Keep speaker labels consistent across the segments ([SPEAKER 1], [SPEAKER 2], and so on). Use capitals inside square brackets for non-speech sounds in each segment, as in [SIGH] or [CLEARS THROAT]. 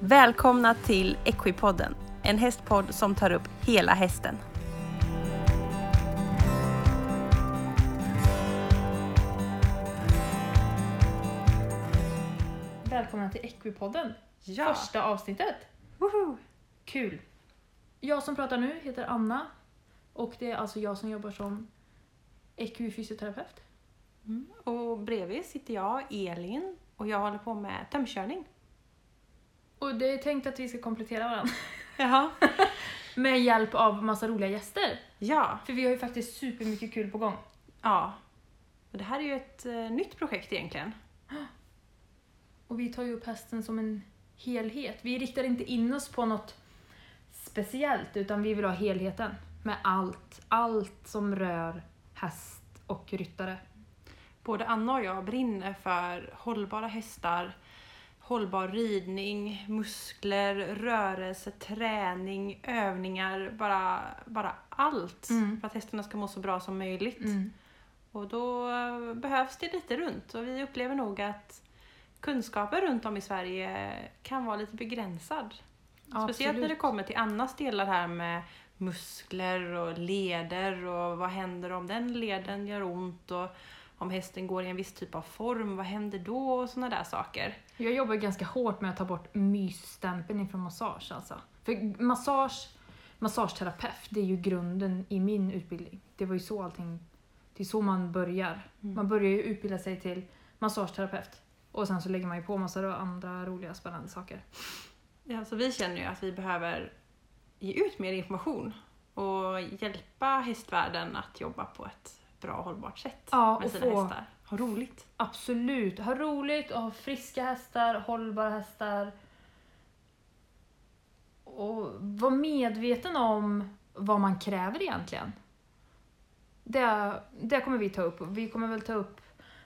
[SPEAKER 1] Välkomna till Equipodden, en hästpodd som tar upp hela hästen.
[SPEAKER 2] Välkomna till Equipodden,
[SPEAKER 1] Ja!
[SPEAKER 2] första avsnittet.
[SPEAKER 1] Woho!
[SPEAKER 2] Kul! Jag som pratar nu heter Anna och det är alltså jag som jobbar som EQ-fysioterapeut.
[SPEAKER 1] Och bredvid sitter jag, Elin, och jag håller på med tömkörning.
[SPEAKER 2] Och det är tänkt att vi ska komplettera varandra [LAUGHS]
[SPEAKER 1] Jaha.
[SPEAKER 2] med hjälp av massa roliga gäster.
[SPEAKER 1] Ja.
[SPEAKER 2] För vi har ju faktiskt supermycket kul på gång.
[SPEAKER 1] Ja. Och det här är ju ett eh, nytt projekt egentligen.
[SPEAKER 2] Och vi tar ju upp hästen som en helhet. Vi riktar inte in oss på något speciellt utan vi vill ha helheten med allt. Allt som rör häst och ryttare.
[SPEAKER 1] Både Anna och jag brinner för hållbara hästar, hållbar ridning, muskler, rörelse, träning, övningar, bara, bara allt
[SPEAKER 2] Mm.
[SPEAKER 1] för att hästarna ska må så bra som möjligt. Och då eh, behövs det lite runt och vi upplever nog att kunskapen runt om i Sverige kan vara lite begränsad. Speciellt när det
[SPEAKER 2] Absolut.
[SPEAKER 1] kommer till Annas delar här med muskler och leder och vad händer om den leden gör ont och om hästen går i en viss typ av form, vad händer då och sådana där saker.
[SPEAKER 2] Jag jobbar ganska hårt med att ta bort mysstämpeln ifrån massage alltså. För massage, massageterapeut, det är ju grunden i min utbildning. Det var ju så allting, det är så man börjar.
[SPEAKER 1] Mm.
[SPEAKER 2] Man börjar ju utbilda sig till massageterapeut. Och sen så lägger man ju på massa andra roliga spännande saker.
[SPEAKER 1] Ja, så vi känner ju att vi behöver ge ut mer information och hjälpa hästvärlden att jobba på ett bra och hållbart sätt
[SPEAKER 2] Ja,
[SPEAKER 1] med
[SPEAKER 2] och
[SPEAKER 1] sina
[SPEAKER 2] få-
[SPEAKER 1] hästar. Ha roligt!
[SPEAKER 2] Absolut, ha roligt och ha friska hästar, hållbara hästar. Och var medveten om vad man kräver egentligen. Det, det kommer vi ta upp. Vi kommer väl ta upp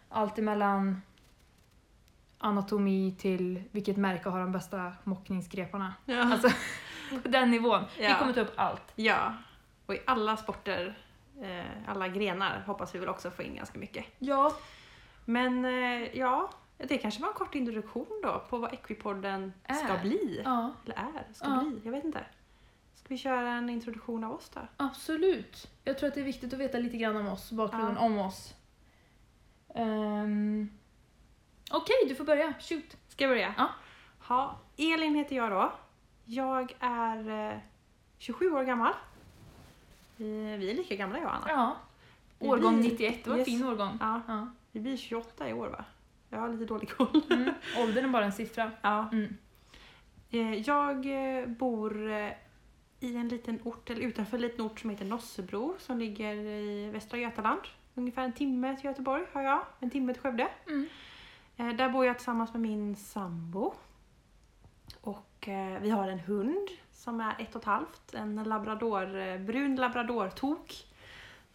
[SPEAKER 2] allt emellan anatomi till vilket märke har de bästa mockningsgreparna.
[SPEAKER 1] Ja.
[SPEAKER 2] Alltså, på den nivån. Vi
[SPEAKER 1] Ja.
[SPEAKER 2] kommer ta upp allt.
[SPEAKER 1] Ja, och i alla sporter, eh, alla grenar hoppas vi väl också få in ganska mycket.
[SPEAKER 2] Ja.
[SPEAKER 1] Men eh, ja, det kanske var en kort introduktion då på vad Equipodden ska
[SPEAKER 2] Är.
[SPEAKER 1] bli.
[SPEAKER 2] ja.
[SPEAKER 1] Eller är, ska
[SPEAKER 2] Ja.
[SPEAKER 1] bli, jag vet inte. Ska vi köra en introduktion av oss då?
[SPEAKER 2] Absolut. Jag tror att det är viktigt att veta lite grann om oss, bakgrunden
[SPEAKER 1] Ja.
[SPEAKER 2] om oss. Ehm, Okej, du får börja. Shoot.
[SPEAKER 1] Ska jag börja?
[SPEAKER 2] Ja.
[SPEAKER 1] Ha, Elin heter jag då. Jag är eh, 27 år gammal. Vi, vi är lika gamla jag och Anna.
[SPEAKER 2] Ja.
[SPEAKER 1] Det
[SPEAKER 2] Årgång
[SPEAKER 1] blir-
[SPEAKER 2] 91, det var en
[SPEAKER 1] Yes.
[SPEAKER 2] fin årgång.
[SPEAKER 1] Ja,
[SPEAKER 2] Ja.
[SPEAKER 1] vi blir 28 i år va? Jag har lite dålig koll.
[SPEAKER 2] Mm. Åldern är bara en siffra.
[SPEAKER 1] Ja.
[SPEAKER 2] Mm.
[SPEAKER 1] Eh, Jag eh, bor eh, i en liten ort, eller utanför en liten ort som heter Nossebro som ligger i Västra Götaland. Ungefär en timme till Göteborg har jag, en timme till Skövde.
[SPEAKER 2] Mm.
[SPEAKER 1] Eh, Där bor jag tillsammans med min sambo. Och eh, vi har en hund som är ett och ett halvt, en labrador, eh, brun labradortok.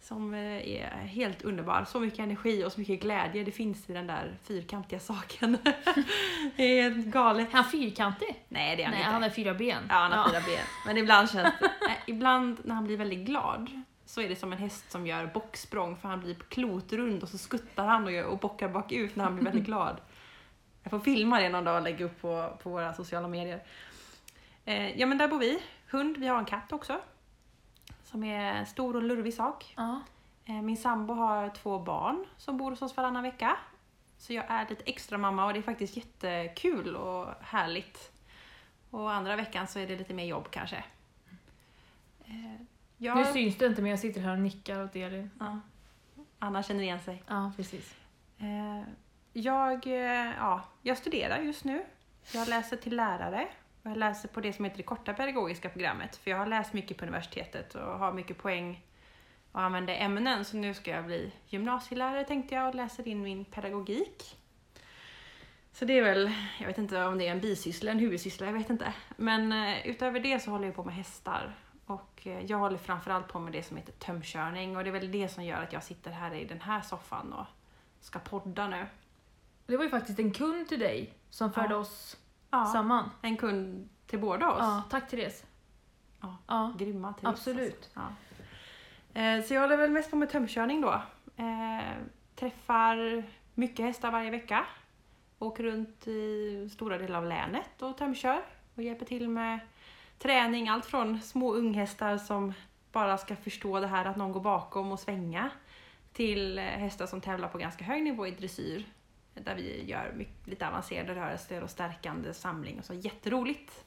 [SPEAKER 1] Som eh, är helt underbar. Så mycket energi och så mycket glädje det finns i den där fyrkantiga saken. [LAUGHS] det är helt galet.
[SPEAKER 2] Är han fyrkantig?
[SPEAKER 1] Nej det är han
[SPEAKER 2] Nej,
[SPEAKER 1] inte.
[SPEAKER 2] han har fyra ben.
[SPEAKER 1] Ja, han har fyra ben. Men ibland känns det, [LAUGHS] nej, ibland när han blir väldigt glad så är det som en häst som gör bocksprång för han blir klotrund och så skuttar han och, gör, och bockar bakut när han blir [LAUGHS] väldigt glad. Jag får filma det någon dag och lägga upp på, på våra sociala medier. Eh, ja men där bor vi. Hund, vi har en katt också. Som är en stor och lurvig sak.
[SPEAKER 2] Ja.
[SPEAKER 1] Eh, min sambo har två barn som bor hos oss varannan vecka. Så jag är lite extra mamma och det är faktiskt jättekul och härligt. Och andra veckan så är det lite mer jobb kanske. Eh, Jag,
[SPEAKER 2] Nu syns det inte men jag sitter här och nickar åt Elin.
[SPEAKER 1] ja. Anna känner igen sig.
[SPEAKER 2] Ja, precis.
[SPEAKER 1] Eh, Jag, eh, ja, jag studerar just nu. Jag läser till lärare och jag läser på det som heter det korta pedagogiska programmet. För jag har läst mycket på universitetet och har mycket poäng och använder ämnen. Så nu ska jag bli gymnasielärare tänkte jag och läser in min pedagogik. Så det är väl, jag vet inte om det är en bisyssla, en huvudsyssla, jag vet inte. Men eh, utöver det så håller jag på med hästar. Och eh, jag håller framförallt på med det som heter tömkörning och det är väl det som gör att jag sitter här i den här soffan och ska podda nu.
[SPEAKER 2] Det var ju faktiskt en kund till dig som förde
[SPEAKER 1] Ja.
[SPEAKER 2] oss
[SPEAKER 1] Ja,
[SPEAKER 2] samman.
[SPEAKER 1] en kund till båda oss.
[SPEAKER 2] Ja, tack Therese.
[SPEAKER 1] Ja.
[SPEAKER 2] ja.
[SPEAKER 1] Grymma tips.
[SPEAKER 2] Absolut.
[SPEAKER 1] Alltså. Ja. Eh, Så jag håller väl mest på med tömkörning då. Eh, Träffar mycket hästar varje vecka. Åker runt i stora delar av länet och tömkör. och hjälper till med träning. Allt från små unghästar som bara ska förstå det här att någon går bakom och svänga till eh, hästar som tävlar på ganska hög nivå i dressyr där vi gör mycket, lite avancerade rörelser och stärkande samling och så. Jätteroligt!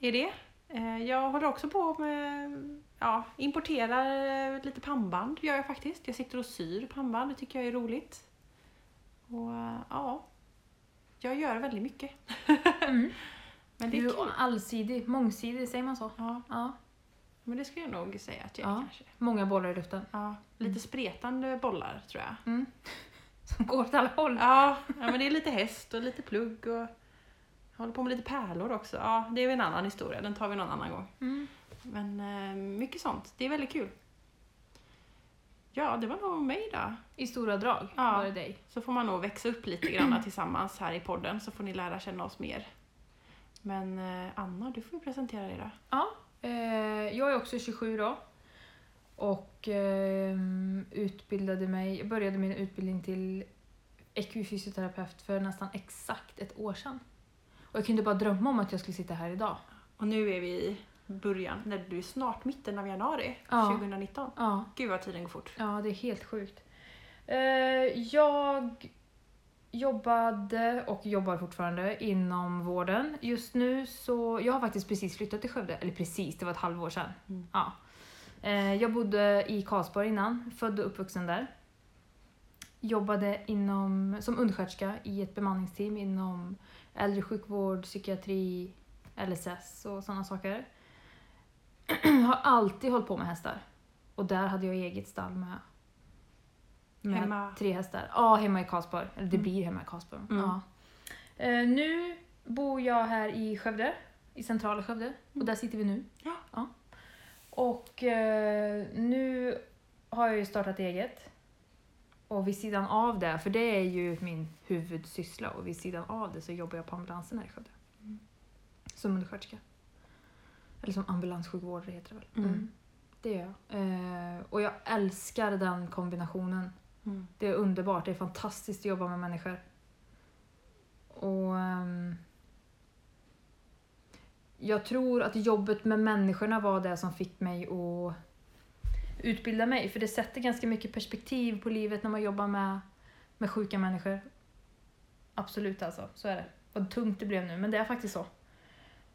[SPEAKER 1] Är det. Eh, Jag håller också på med, ja, importerar eh, lite pannband gör jag faktiskt. Jag sitter och syr pannband, det tycker jag är roligt. Och eh, ja, jag gör väldigt mycket.
[SPEAKER 2] Mm.
[SPEAKER 1] [LAUGHS] Men det är
[SPEAKER 2] Du
[SPEAKER 1] kul.
[SPEAKER 2] är allsidig, mångsidig, säger man så?
[SPEAKER 1] Ja,
[SPEAKER 2] Ja.
[SPEAKER 1] men det skulle jag nog säga att jag
[SPEAKER 2] Ja. Mm.
[SPEAKER 1] är kanske.
[SPEAKER 2] Många bollar i luften. [LAUGHS]
[SPEAKER 1] Ja, lite spretande bollar tror jag.
[SPEAKER 2] Mm. Som går åt alla håll.
[SPEAKER 1] Ja, ja, men det är lite häst och lite plugg och jag håller på med lite pärlor också. Ja, det är väl en annan historia, den tar vi någon annan gång.
[SPEAKER 2] Mm.
[SPEAKER 1] Men eh, mycket sånt, det är väldigt kul. Ja, det var nog mig då.
[SPEAKER 2] I stora drag
[SPEAKER 1] Ja.
[SPEAKER 2] var det dig.
[SPEAKER 1] Så får man nog växa upp lite [CLEARS THROAT] grann tillsammans här i podden så får ni lära känna oss mer. Men eh, Anna, du får ju presentera dig då.
[SPEAKER 2] Ja, eh, jag är också 27 då. Och eh, utbildade mig, jag började min utbildning till EQ-fysioterapeut för nästan exakt ett år sedan. Och jag kunde bara drömma om att jag skulle sitta här idag.
[SPEAKER 1] Och nu är vi i början, när du är snart mitten av januari
[SPEAKER 2] Ja.
[SPEAKER 1] 2019.
[SPEAKER 2] Ja,
[SPEAKER 1] Gud vad tiden går fort.
[SPEAKER 2] ja det är helt sjukt. Eh, jag jobbade och jobbar fortfarande inom vården. Just nu så, jag har faktiskt precis flyttat till Skövde, eller precis, det var ett halvår sedan.
[SPEAKER 1] Mm.
[SPEAKER 2] Ja. Eh, Jag bodde i Karlsborg innan, född och uppvuxen där. Jobbade inom, som undersköterska i ett bemanningsteam inom äldre sjukvård, psykiatri, LSS och sådana saker. [CLEARS THROAT] har alltid hållit på med hästar. Och där hade jag eget stall med, med
[SPEAKER 1] Hemma?
[SPEAKER 2] tre hästar. Ja, hemma i Karlsborg. Eller det
[SPEAKER 1] Mm.
[SPEAKER 2] blir hemma i Karlsborg.
[SPEAKER 1] Mm.
[SPEAKER 2] Ja. Eh, nu bor jag här i Skövde, i centrala Skövde. Och där sitter vi nu.
[SPEAKER 1] Ja.
[SPEAKER 2] Och eh, nu har jag ju startat eget. Och vid sidan av det, för det är ju min huvudsyssla, och vid sidan av det så jobbar jag på ambulansen här i Skövde.
[SPEAKER 1] Mm.
[SPEAKER 2] Som undersköterska. Eller som ambulanssjukvårdare heter det väl.
[SPEAKER 1] Mm.
[SPEAKER 2] Det gör jag. Eh, och jag älskar den kombinationen.
[SPEAKER 1] Mm.
[SPEAKER 2] Det är underbart, det är fantastiskt att jobba med människor. Och... ehm, jag tror att jobbet med människorna var det som fick mig att utbilda mig, för det sätter ganska mycket perspektiv på livet när man jobbar med, med sjuka människor. Absolut alltså, så är det. Vad tungt det blev nu, men det är faktiskt så.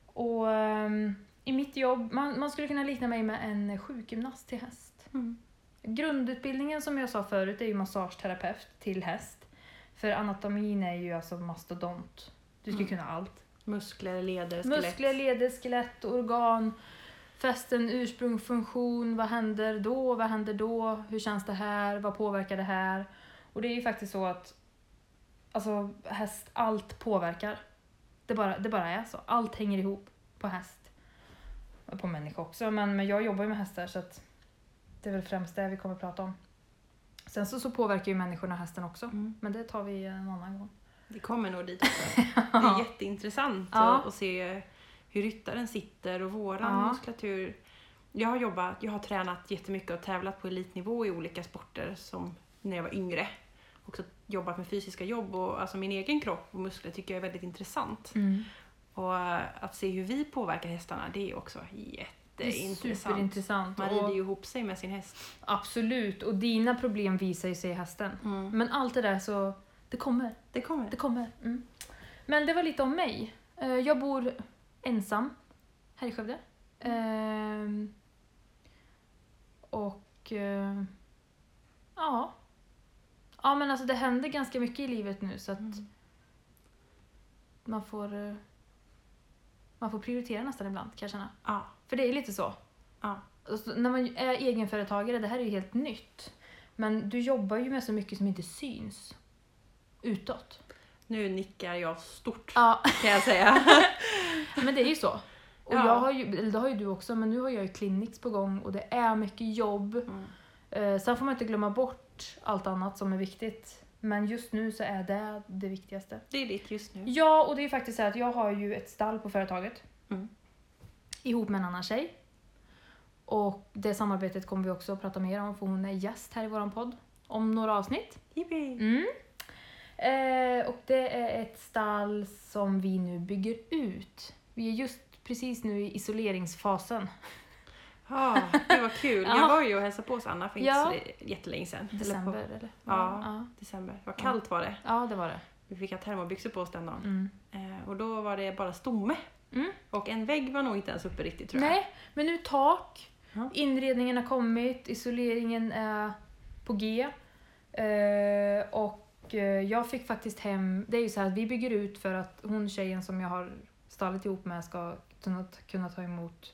[SPEAKER 2] Och ehm, i mitt jobb, man, man skulle kunna likna mig med en sjukgymnast till häst.
[SPEAKER 1] Mm.
[SPEAKER 2] Grundutbildningen som jag sa förut är ju massageterapeut till häst. För anatomin är ju alltså mastodont. Du ska
[SPEAKER 1] Mm.
[SPEAKER 2] kunna allt.
[SPEAKER 1] Muskler, leder, skelett.
[SPEAKER 2] Muskler, leder, skelett, organ, fästen, ursprung, funktion. Vad händer då? Vad händer då? Hur känns det här? Vad påverkar det här? Och det är ju faktiskt så att alltså, häst, allt påverkar. Det bara, det bara är så. Allt hänger ihop på häst. Och På människa också, men, men jag jobbar ju med hästar så att det är väl främst det vi kommer att prata om. Sen så, så påverkar ju människorna hästen också,
[SPEAKER 1] Mm.
[SPEAKER 2] men det tar vi en annan gång.
[SPEAKER 1] Vi kommer nog dit
[SPEAKER 2] [LAUGHS]
[SPEAKER 1] också. Det är jätteintressant
[SPEAKER 2] Ja.
[SPEAKER 1] att, att se hur ryttaren sitter och våran
[SPEAKER 2] Ja.
[SPEAKER 1] muskulatur. Jag har jobbat, jag har tränat jättemycket och tävlat på elitnivå i olika sporter som när jag var yngre. Också jobbat med fysiska jobb och alltså min egen kropp och muskler tycker jag är väldigt intressant.
[SPEAKER 2] Mm.
[SPEAKER 1] Och eh, att se hur vi påverkar hästarna det är också
[SPEAKER 2] Det är
[SPEAKER 1] jätteintressant.
[SPEAKER 2] superintressant.
[SPEAKER 1] Man rider
[SPEAKER 2] Och,
[SPEAKER 1] ju ihop sig med sin häst.
[SPEAKER 2] absolut, och dina problem visar ju sig i hästen. Men allt det där så, det kommer.
[SPEAKER 1] Det kommer.
[SPEAKER 2] Mm. Det kommer. Mm. Men det var lite om mig. Eh, Jag bor ensam här i Skövde. Ehm, Och eh, ja. Ja men alltså det händer ganska mycket i livet nu så att
[SPEAKER 1] Mm.
[SPEAKER 2] man får eh, man får prioritera nästan ibland kan jag känna.
[SPEAKER 1] Ja.
[SPEAKER 2] För det är lite så.
[SPEAKER 1] Ja.
[SPEAKER 2] Och så när man är egenföretagare, det här är ju helt nytt. Men du jobbar ju med så mycket som inte syns utåt.
[SPEAKER 1] Nu nickar jag stort
[SPEAKER 2] Ja,
[SPEAKER 1] kan jag säga.
[SPEAKER 2] [LAUGHS] Men det är ju så. Och
[SPEAKER 1] Ja.
[SPEAKER 2] jag har ju, eller det har ju du också, men nu har jag ju clinics på gång och det är mycket jobb.
[SPEAKER 1] Mm.
[SPEAKER 2] Eh, sen får man inte glömma bort allt annat som är viktigt. Men just nu så är det det viktigaste.
[SPEAKER 1] Det är ditt just nu.
[SPEAKER 2] Ja, och det är faktiskt så här att jag har ju ett stall på företaget.
[SPEAKER 1] Mm.
[SPEAKER 2] Ihop med en annan tjej. Och det samarbetet kommer vi också att prata mer om för hon är gäst här i våran podd. Om några avsnitt.
[SPEAKER 1] Yippee!
[SPEAKER 2] Mm. Eh, och det är ett stall som vi nu bygger ut. Vi är just precis nu i isoleringsfasen.
[SPEAKER 1] Ja, det var kul.
[SPEAKER 2] Ja.
[SPEAKER 1] Jag var ju och hälsade på hos Anna för inte
[SPEAKER 2] Ja.
[SPEAKER 1] så li- jättelänge sedan. Eller på-
[SPEAKER 2] December, eller?
[SPEAKER 1] Ja.
[SPEAKER 2] ja.
[SPEAKER 1] December. Vad kallt var det.
[SPEAKER 2] Ja, det var det.
[SPEAKER 1] Vi fick ha termobyxor på oss den dagen.
[SPEAKER 2] Mm.
[SPEAKER 1] Eh, och då var det bara stomme.
[SPEAKER 2] Mm.
[SPEAKER 1] Och en vägg var nog inte ens uppe riktigt tror jag.
[SPEAKER 2] Nej, men nu tak.
[SPEAKER 1] Ja.
[SPEAKER 2] Inredningen har kommit, isoleringen är på G. Eh, och eh, jag fick faktiskt hem, det är ju så här att vi bygger ut för att hon tjejen som jag har stallet ihop med ska kunna, kunna ta emot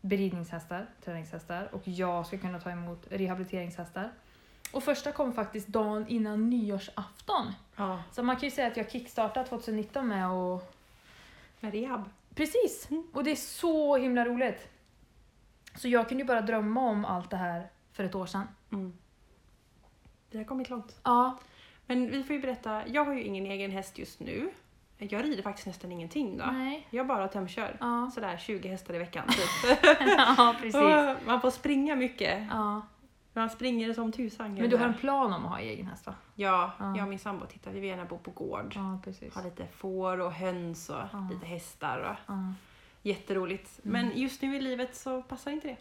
[SPEAKER 2] beridningshästar, träningshästar och jag ska kunna ta emot rehabiliteringshästar. Och första kom faktiskt dagen innan nyårsafton.
[SPEAKER 1] Ja.
[SPEAKER 2] Så man kan ju säga att jag kickstartade 2019 med att
[SPEAKER 1] Med rehab.
[SPEAKER 2] Precis! Och det är så himla roligt. Så jag kunde ju bara drömma om allt det här för ett år sedan.
[SPEAKER 1] Mm. Vi har kommit långt.
[SPEAKER 2] Ja.
[SPEAKER 1] Men vi får ju berätta. Jag har ju ingen egen häst just nu. Jag rider faktiskt nästan ingenting då.
[SPEAKER 2] Nej.
[SPEAKER 1] Jag bara tömkör.
[SPEAKER 2] [LAUGHS] Ja.
[SPEAKER 1] Sådär 20 hästar i veckan. Typ.
[SPEAKER 2] [LAUGHS]
[SPEAKER 1] [LAUGHS]
[SPEAKER 2] ja, precis.
[SPEAKER 1] Och Man får springa mycket.
[SPEAKER 2] Ja.
[SPEAKER 1] Man springer som tusan.
[SPEAKER 2] Men du har en plan om att ha egen häst va?
[SPEAKER 1] Ja,
[SPEAKER 2] Ja.
[SPEAKER 1] jag och min sambo tittar. Vi vill gärna bo på gård.
[SPEAKER 2] Ja, precis.
[SPEAKER 1] Ha lite får och höns och
[SPEAKER 2] Ja.
[SPEAKER 1] lite hästar. Och...
[SPEAKER 2] Ja.
[SPEAKER 1] Jätteroligt. Men just nu i livet så passar inte det.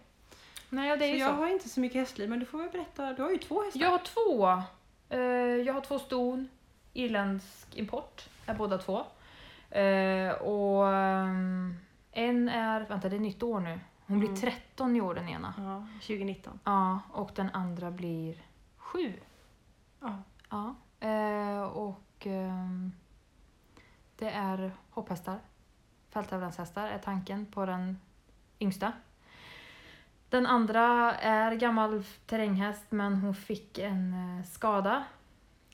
[SPEAKER 2] Nej, ja, det är
[SPEAKER 1] så
[SPEAKER 2] ju
[SPEAKER 1] jag
[SPEAKER 2] så.
[SPEAKER 1] har inte så mycket hästliv, men du får väl berätta. Du har ju två hästar.
[SPEAKER 2] Jag har två. Eh, jag har två ston. Irländsk import är båda två. Eh, och ehm, en är, vänta det är nytt år nu. Hon blir
[SPEAKER 1] Mm.
[SPEAKER 2] 13 i år den ena.
[SPEAKER 1] Ja, 2019.
[SPEAKER 2] Ja, och den andra blir 7.
[SPEAKER 1] Ja.
[SPEAKER 2] Ja, eh, och ehm, det är hopphästar. Fälttävlanshästar är tanken på den yngsta. Den andra är gammal terränghäst men hon fick en eh, skada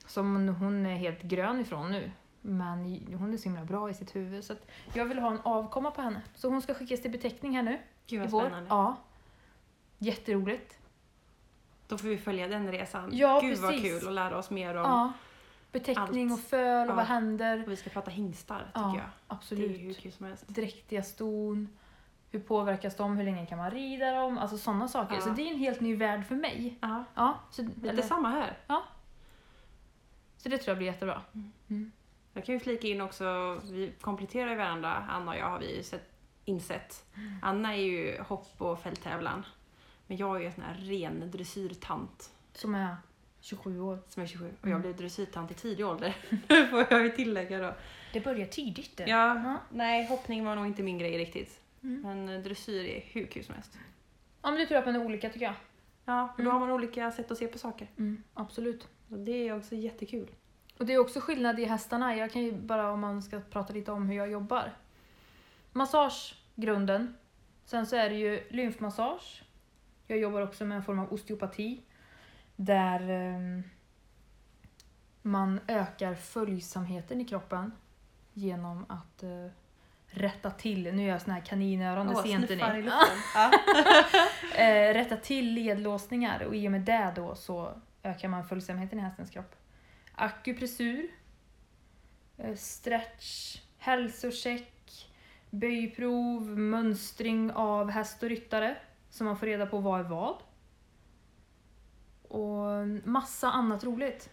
[SPEAKER 2] som hon är helt grön ifrån nu. Men j- hon är så himla bra i sitt huvud så att jag vill ha en avkomma på henne. Så hon ska skickas till beteckning här nu
[SPEAKER 1] Gud
[SPEAKER 2] i
[SPEAKER 1] vad
[SPEAKER 2] vår.
[SPEAKER 1] spännande.
[SPEAKER 2] Ja. Jätteroligt.
[SPEAKER 1] Då får vi följa den resan.
[SPEAKER 2] Ja,
[SPEAKER 1] Gud vad
[SPEAKER 2] precis.
[SPEAKER 1] kul och lära oss mer om.
[SPEAKER 2] Ja. Beteckning och föl och
[SPEAKER 1] Ja.
[SPEAKER 2] vad händer.
[SPEAKER 1] Och vi ska prata hingstar tycker
[SPEAKER 2] Ja,
[SPEAKER 1] jag.
[SPEAKER 2] absolut.
[SPEAKER 1] Det är ju hur kul som helst.
[SPEAKER 2] dräktiga ston, hur påverkas de, hur länge kan man rida dem, alltså sådana saker.
[SPEAKER 1] Ja.
[SPEAKER 2] Så det är en helt ny värld för mig.
[SPEAKER 1] Ja,
[SPEAKER 2] Ja, så,
[SPEAKER 1] lite
[SPEAKER 2] eller,
[SPEAKER 1] samma här.
[SPEAKER 2] så det tror jag blir jättebra.
[SPEAKER 1] Jag kan ju flika in också, vi kompletterar ju varandra, Anna och jag har vi ju sett, insett.
[SPEAKER 2] Mm.
[SPEAKER 1] Anna är ju hopp och fälttävlan. Men jag är ju en sån här ren dressyrtant
[SPEAKER 2] Som är 27 år.
[SPEAKER 1] som är 27 och
[SPEAKER 2] Mm.
[SPEAKER 1] jag blev dressyrtant i tidig ålder. [LAUGHS] får jag ju tillägga då.
[SPEAKER 2] Det börjar tidigt. det.
[SPEAKER 1] Ja,
[SPEAKER 2] Ja.
[SPEAKER 1] nej hoppning var nog inte min grej riktigt.
[SPEAKER 2] Mm.
[SPEAKER 1] Men eh, dressyr är hur kul som helst.
[SPEAKER 2] ja men det tror jag att man är olika tycker jag.
[SPEAKER 1] Ja, och då
[SPEAKER 2] Mm.
[SPEAKER 1] har man olika sätt att se på saker.
[SPEAKER 2] absolut.
[SPEAKER 1] Så det är också jättekul.
[SPEAKER 2] Och det är också skillnad i hästarna. Jag kan ju bara om man ska prata lite om hur jag jobbar. Massage, grunden. Sen så är det ju lymfmassage. Jag jobbar också med en form av osteopati. Där ehm, man ökar följsamheten i kroppen genom att eh, rätta till, nu är jag sån här kaninöron, det
[SPEAKER 1] Åh,
[SPEAKER 2] ser inte [LAUGHS]
[SPEAKER 1] snuffar i
[SPEAKER 2] ni.
[SPEAKER 1] luften. Ja.
[SPEAKER 2] Eh, rätta till ledlåsningar och i och med det då så ökar man följsamheten i hästens kropp. Akupressur, eh, stretch, hälsocheck, böjprov, mönstring av häst och ryttare så man får reda på vad är vad. Och massa annat roligt.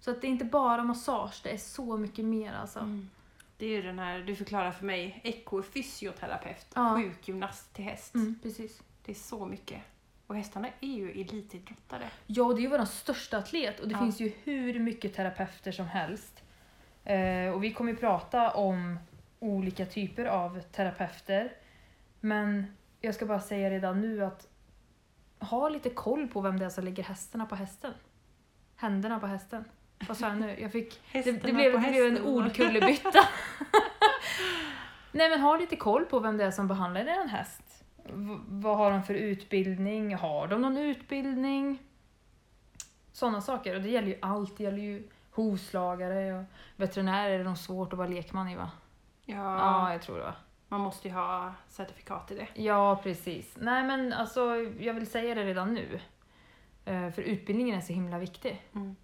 [SPEAKER 2] Så att det är inte bara massage, det är så mycket mer alltså.
[SPEAKER 1] Mm. Det är ju den här, du förklarar för mig, ekofysioterapeut,
[SPEAKER 2] Ja.
[SPEAKER 1] sjukgymnast till häst.
[SPEAKER 2] Mm, precis.
[SPEAKER 1] Det är så mycket. Och hästarna är ju elitidrottare.
[SPEAKER 2] Ja, och det är ju vår största atlet och det
[SPEAKER 1] Ja.
[SPEAKER 2] finns ju hur mycket terapeuter som helst. Eh, och vi kommer ju prata om olika typer av terapeuter. Men jag ska bara säga redan nu att ha lite koll på vem det är som lägger hästarna på hästen. Händerna på hästen. Vad sa jag nu? Jag fick, det, det,
[SPEAKER 1] Hästarna
[SPEAKER 2] blev,
[SPEAKER 1] på
[SPEAKER 2] det blev en
[SPEAKER 1] hästen.
[SPEAKER 2] ordkullerbytta.
[SPEAKER 1] [LAUGHS]
[SPEAKER 2] [LAUGHS] Nej men ha lite koll på vem det är som behandlar en häst. V- vad har de för utbildning? Har de någon utbildning? Sådana saker. Och det gäller ju allt. Det gäller ju hovslagare och veterinärer är de svårt att vara lekman i va?
[SPEAKER 1] Ja,
[SPEAKER 2] Ja, jag tror det va.
[SPEAKER 1] Man måste ju ha certifikat i det.
[SPEAKER 2] Ja, precis. Nej men alltså, jag vill säga det redan nu. Eh, För utbildningen är så himla viktig.
[SPEAKER 1] Mm.